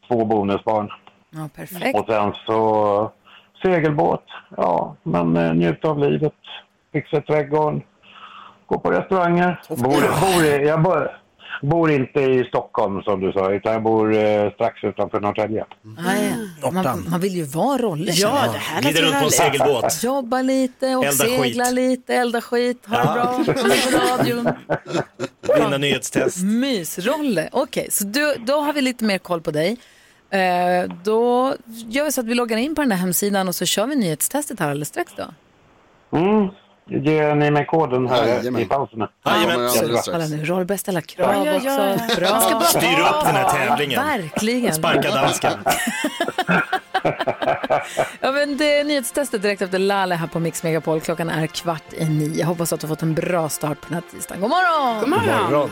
[SPEAKER 10] två bonusbarn.
[SPEAKER 1] Ja, perfekt.
[SPEAKER 10] Och sen så segelbåt. Ja, man eh, njuter av livet. Fixar trädgården. Går på restauranger. Bor, bor, i- jag bor, bor inte i Stockholm som du sa, utan jag bor eh, strax utanför Norrtälje.
[SPEAKER 1] Ah, ja. man, man vill ju vara roller.
[SPEAKER 4] Ja, det här
[SPEAKER 3] Glider
[SPEAKER 4] låter
[SPEAKER 3] runt på en
[SPEAKER 4] härligt.
[SPEAKER 3] segelbåt.
[SPEAKER 1] Jobba lite och
[SPEAKER 3] Elda
[SPEAKER 1] segla
[SPEAKER 3] skit.
[SPEAKER 1] lite, elda skit, ha det
[SPEAKER 3] Ja.
[SPEAKER 1] bra, lyssna på radion.
[SPEAKER 3] Vinna nyhetstest.
[SPEAKER 1] Mysrolle. Okej, så du, då har vi lite mer koll på dig. Eh, då gör vi så att vi loggar in på den där hemsidan och så kör vi nyhetstestet här alldeles strax då.
[SPEAKER 10] Mm. Ger ni mig koden här
[SPEAKER 2] Jajamän.
[SPEAKER 10] i pauserna?
[SPEAKER 3] Jajamän.
[SPEAKER 2] alldeles
[SPEAKER 1] Kolla
[SPEAKER 2] strax.
[SPEAKER 1] nu, Roll börjar ställa krav
[SPEAKER 4] Ja, ja,
[SPEAKER 1] också.
[SPEAKER 4] ja.
[SPEAKER 1] Bra.
[SPEAKER 3] Styr upp den här tävlingen.
[SPEAKER 1] Verkligen.
[SPEAKER 3] Sparka dansken.
[SPEAKER 1] Ja, men det är nyhetstestet direkt efter Lale här på Mix Megapol. Klockan är kvart i nio. Hoppas att du har fått en bra start på den här tisdagen. God morgon!
[SPEAKER 4] God morgon.
[SPEAKER 3] Morgon.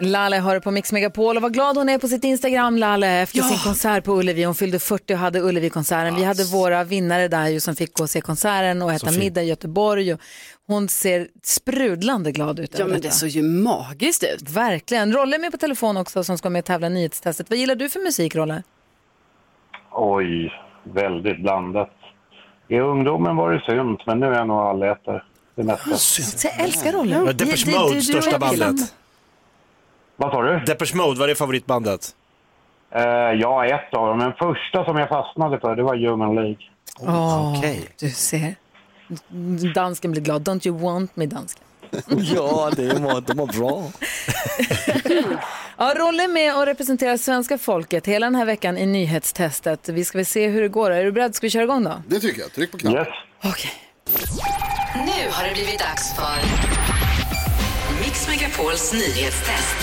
[SPEAKER 1] Lalle hör det på Mix Megapol och vad glad hon är på sitt Instagram, Lalle, efter sin konsert på Ullevi. Hon fyllde 40 och hade Ullevi-konserten. Vi hade våra vinnare där ju som fick gå och se konserten och äta middag i Göteborg. Och hon ser sprudlande glad ut.
[SPEAKER 4] Ja,
[SPEAKER 1] över
[SPEAKER 4] men det
[SPEAKER 1] detta.
[SPEAKER 4] såg ju magiskt ut.
[SPEAKER 1] Verkligen. Rolle är med på telefon också som ska med och tävla i nyhetstestet. Vad gillar du för musik, Rolle?
[SPEAKER 10] Oj, väldigt blandat. I ungdomen var det synt, men nu är jag nog allätare. Det mesta.
[SPEAKER 1] Så jag älskar Rolle.
[SPEAKER 3] Men Depeche Mode, största bandet.
[SPEAKER 10] Vad sa du?
[SPEAKER 3] Depeche Mode, var det favoritbandet?
[SPEAKER 10] Eh, ja, ett av dem. Men första som jag fastnade för, det var Human League.
[SPEAKER 1] Åh, Du ser. Dansken blir glad. Don't you want me, dansken?
[SPEAKER 5] ja, det var, det var bra.
[SPEAKER 1] Ja, Rolle är med och representerar svenska folket hela den här veckan i nyhetstestet. Vi ska väl se hur det går. Är du beredd? Ska vi köra igång då?
[SPEAKER 2] Det tycker jag. Tryck på knappen.
[SPEAKER 11] Nu har det blivit dags för Mix Megapols nyhetstest.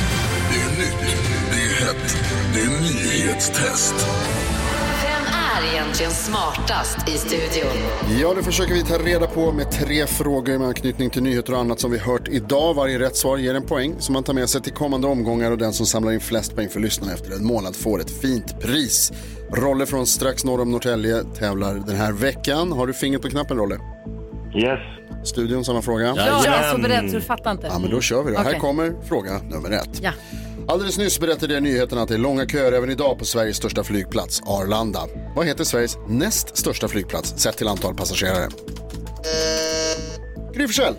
[SPEAKER 12] Det är nytt, det är hett, det är nyhetstest.
[SPEAKER 11] Vem är egentligen smartast i studion?
[SPEAKER 2] Ja, det försöker vi ta reda på med tre frågor med anknytning till nyheter och annat som vi hört idag. Varje rätt svar ger en poäng som man tar med sig till kommande omgångar och den som samlar in flest poäng för lyssnarna efter en månad får ett fint pris. Rolle från strax norr om Norrtälje tävlar den här veckan. Har du fingret på knappen, Rolle?
[SPEAKER 10] Yes.
[SPEAKER 2] Studion, samma fråga.
[SPEAKER 1] Ja, jag är så beredd så du fattar inte.
[SPEAKER 2] Ja, men då kör vi då. Här
[SPEAKER 1] Okej.
[SPEAKER 2] kommer fråga nummer ett.
[SPEAKER 1] Ja.
[SPEAKER 2] Alldeles nyss berättade jag nyheterna att det är långa köer även idag på Sveriges största flygplats, Arlanda. Vad heter Sveriges näst största flygplats sett till antal passagerare? Gry Forssell.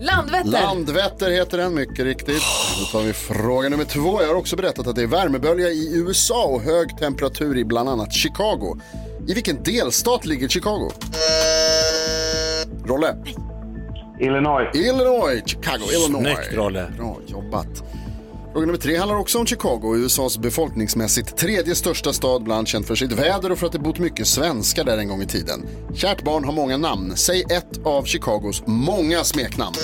[SPEAKER 1] Landvetter!
[SPEAKER 2] Landvetter heter den, mycket riktigt. Då tar vi fråga nummer två. Jag har också berättat att det är värmebölja i USA och hög temperatur i bland annat Chicago. I vilken delstat ligger Chicago? Rolle?
[SPEAKER 10] Illinois.
[SPEAKER 2] Illinois, Chicago, Illinois.
[SPEAKER 3] Snyggt, Rolle.
[SPEAKER 2] Bra jobbat. Fråga nummer tre handlar också om Chicago, USAs befolkningsmässigt tredje största stad, bland känd för sitt väder och för att det bott mycket svenskar där en gång i tiden. Kärt barn har många namn. Säg ett av Chicagos många smeknamn.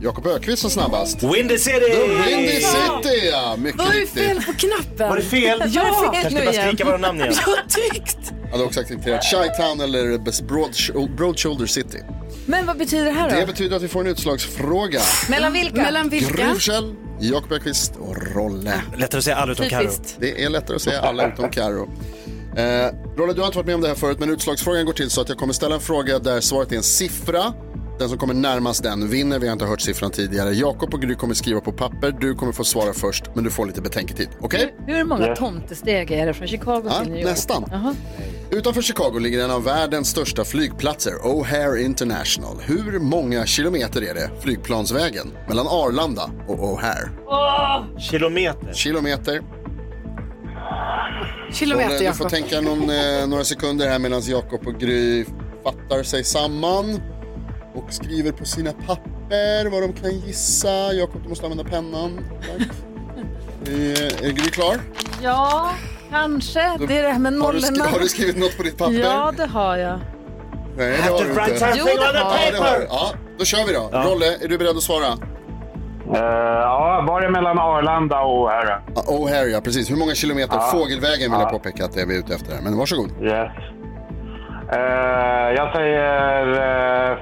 [SPEAKER 2] Jakob Ökvist som snabbast.
[SPEAKER 3] Windy City!
[SPEAKER 2] The Windy City, ja. Mycket
[SPEAKER 4] Var det
[SPEAKER 2] riktigt.
[SPEAKER 4] fel på knappen?
[SPEAKER 3] Var det fel?
[SPEAKER 4] Ja!
[SPEAKER 3] Kanske ska bara skrika våra namn igen.
[SPEAKER 4] Jag tyckte...
[SPEAKER 2] Jag hade också accepterat Chi-Town eller Broad, Broad Shoulder City.
[SPEAKER 1] Men vad betyder det här då?
[SPEAKER 2] Det betyder att vi får en utslagsfråga.
[SPEAKER 1] Mellan vilka?
[SPEAKER 4] Mellan
[SPEAKER 2] Gry
[SPEAKER 4] vilka?
[SPEAKER 2] Forssell, Jakob Ökvist och Rolle.
[SPEAKER 3] Lättare att säga alla utom Carro.
[SPEAKER 1] Typiskt.
[SPEAKER 2] Det är lättare att säga alla utom Karo. Eh, Rolle, du har inte varit med om det här förut, men utslagsfrågan går till så att jag kommer ställa en fråga där svaret är en siffra. Den som kommer närmast den vinner. Vi har inte hört siffran tidigare. Jakob och Gry kommer skriva på papper. Du kommer få svara först, men du får lite betänketid. Okej?
[SPEAKER 1] Hur många
[SPEAKER 10] Ja.
[SPEAKER 1] tomtesteg är det från Chicago
[SPEAKER 2] Ja,
[SPEAKER 1] till New York?
[SPEAKER 2] nästan.
[SPEAKER 1] Jaha.
[SPEAKER 2] Utanför Chicago ligger en av världens största flygplatser, O'Hare International. Hur många kilometer är det flygplansvägen mellan Arlanda och O'Hare?
[SPEAKER 3] Kilometer.
[SPEAKER 2] Kilometer.
[SPEAKER 4] Kilometer,
[SPEAKER 2] Du får
[SPEAKER 4] Jakob.
[SPEAKER 2] tänka någon, eh, några sekunder här medan Jakob och Gry fattar sig samman och skriver på sina papper vad de kan gissa. Jakob, du måste använda pennan. Tack. Eh, Är Gry klar?
[SPEAKER 1] Ja, kanske. Det är det här med
[SPEAKER 2] Har du,
[SPEAKER 1] nollorna.
[SPEAKER 2] skri- har du skrivit något på ditt papper?
[SPEAKER 1] Ja, det har jag.
[SPEAKER 2] Nej, det har du
[SPEAKER 3] Write
[SPEAKER 2] inte.
[SPEAKER 3] something
[SPEAKER 1] Jo, det
[SPEAKER 3] on the
[SPEAKER 1] har
[SPEAKER 2] Ja, det har du.
[SPEAKER 3] paper!
[SPEAKER 2] ja, då kör vi då. Rolle, är du beredd att svara?
[SPEAKER 10] Eh, ja, var det mellan Arlanda och här?
[SPEAKER 2] Ja, O'Hare, Ah, oh, ja precis. Hur många kilometer?
[SPEAKER 3] Ah.
[SPEAKER 2] Fågelvägen vill jag påpeka att det är vi ute efter. här. Men varsågod.
[SPEAKER 10] Yes. Eh, jag säger eh,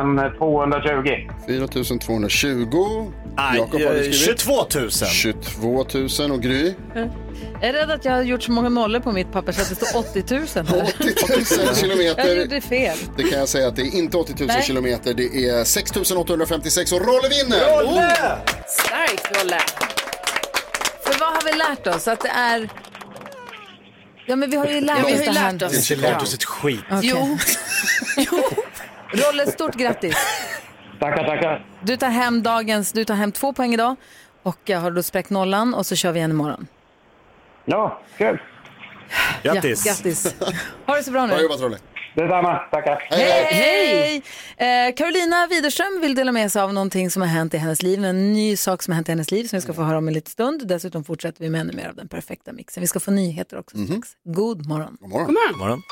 [SPEAKER 10] 4220.
[SPEAKER 2] 4220.
[SPEAKER 3] Aj,
[SPEAKER 2] Jakob, har du
[SPEAKER 3] eh,
[SPEAKER 2] skrivit?
[SPEAKER 3] 22 000.
[SPEAKER 2] 22 000 och Gry?
[SPEAKER 1] Jag är rädd att jag har gjort så många nollor på mitt papper så att det står 80 000 här.
[SPEAKER 2] 80 000
[SPEAKER 1] Jag
[SPEAKER 2] kilometer.
[SPEAKER 1] gjorde fel.
[SPEAKER 2] Det kan jag säga att det är inte 80 000
[SPEAKER 1] Nej.
[SPEAKER 2] kilometer. Det är 6 856 och Rolle vinner!
[SPEAKER 3] Rolle!
[SPEAKER 4] Starkt, Rolle.
[SPEAKER 1] För vad har vi lärt oss? Att det är... Ja, men vi har ju lärt
[SPEAKER 4] Ja, vi
[SPEAKER 1] oss
[SPEAKER 4] har ju
[SPEAKER 1] det här.
[SPEAKER 4] lärt oss.
[SPEAKER 3] Det är inte lärt oss ett skit.
[SPEAKER 1] Okej.
[SPEAKER 4] Jo.
[SPEAKER 1] Rolle, stort grattis.
[SPEAKER 10] Tackar, tackar.
[SPEAKER 1] Du tar hem dagens, du tar hem två poäng idag och jag har då spräckt nollan och så kör vi igen imorgon.
[SPEAKER 10] Ja, kul.
[SPEAKER 3] Grattis.
[SPEAKER 1] Ja, grattis. Ha det så bra nu.
[SPEAKER 2] Bra jobbat Rolle.
[SPEAKER 10] Detsamma. Tackar.
[SPEAKER 1] Hej! Eh, Carolina Widerström vill dela med sig av någonting som har hänt i hennes liv, en ny sak som har hänt i hennes liv som vi ska få höra om en liten stund. Dessutom fortsätter vi med ännu mer av den perfekta mixen. Vi ska få nyheter också strax. God morgon.
[SPEAKER 2] God morgon.
[SPEAKER 3] God morgon.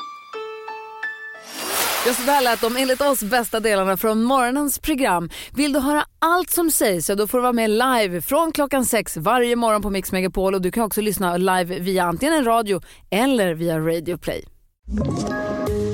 [SPEAKER 1] Ja, så där lät de enligt oss bästa delarna från morgonens program. Vill du höra allt som sägs så då får du vara med live från klockan sex varje morgon på Mix Megapol och du kan också lyssna live via antingen en radio eller via Radio Play.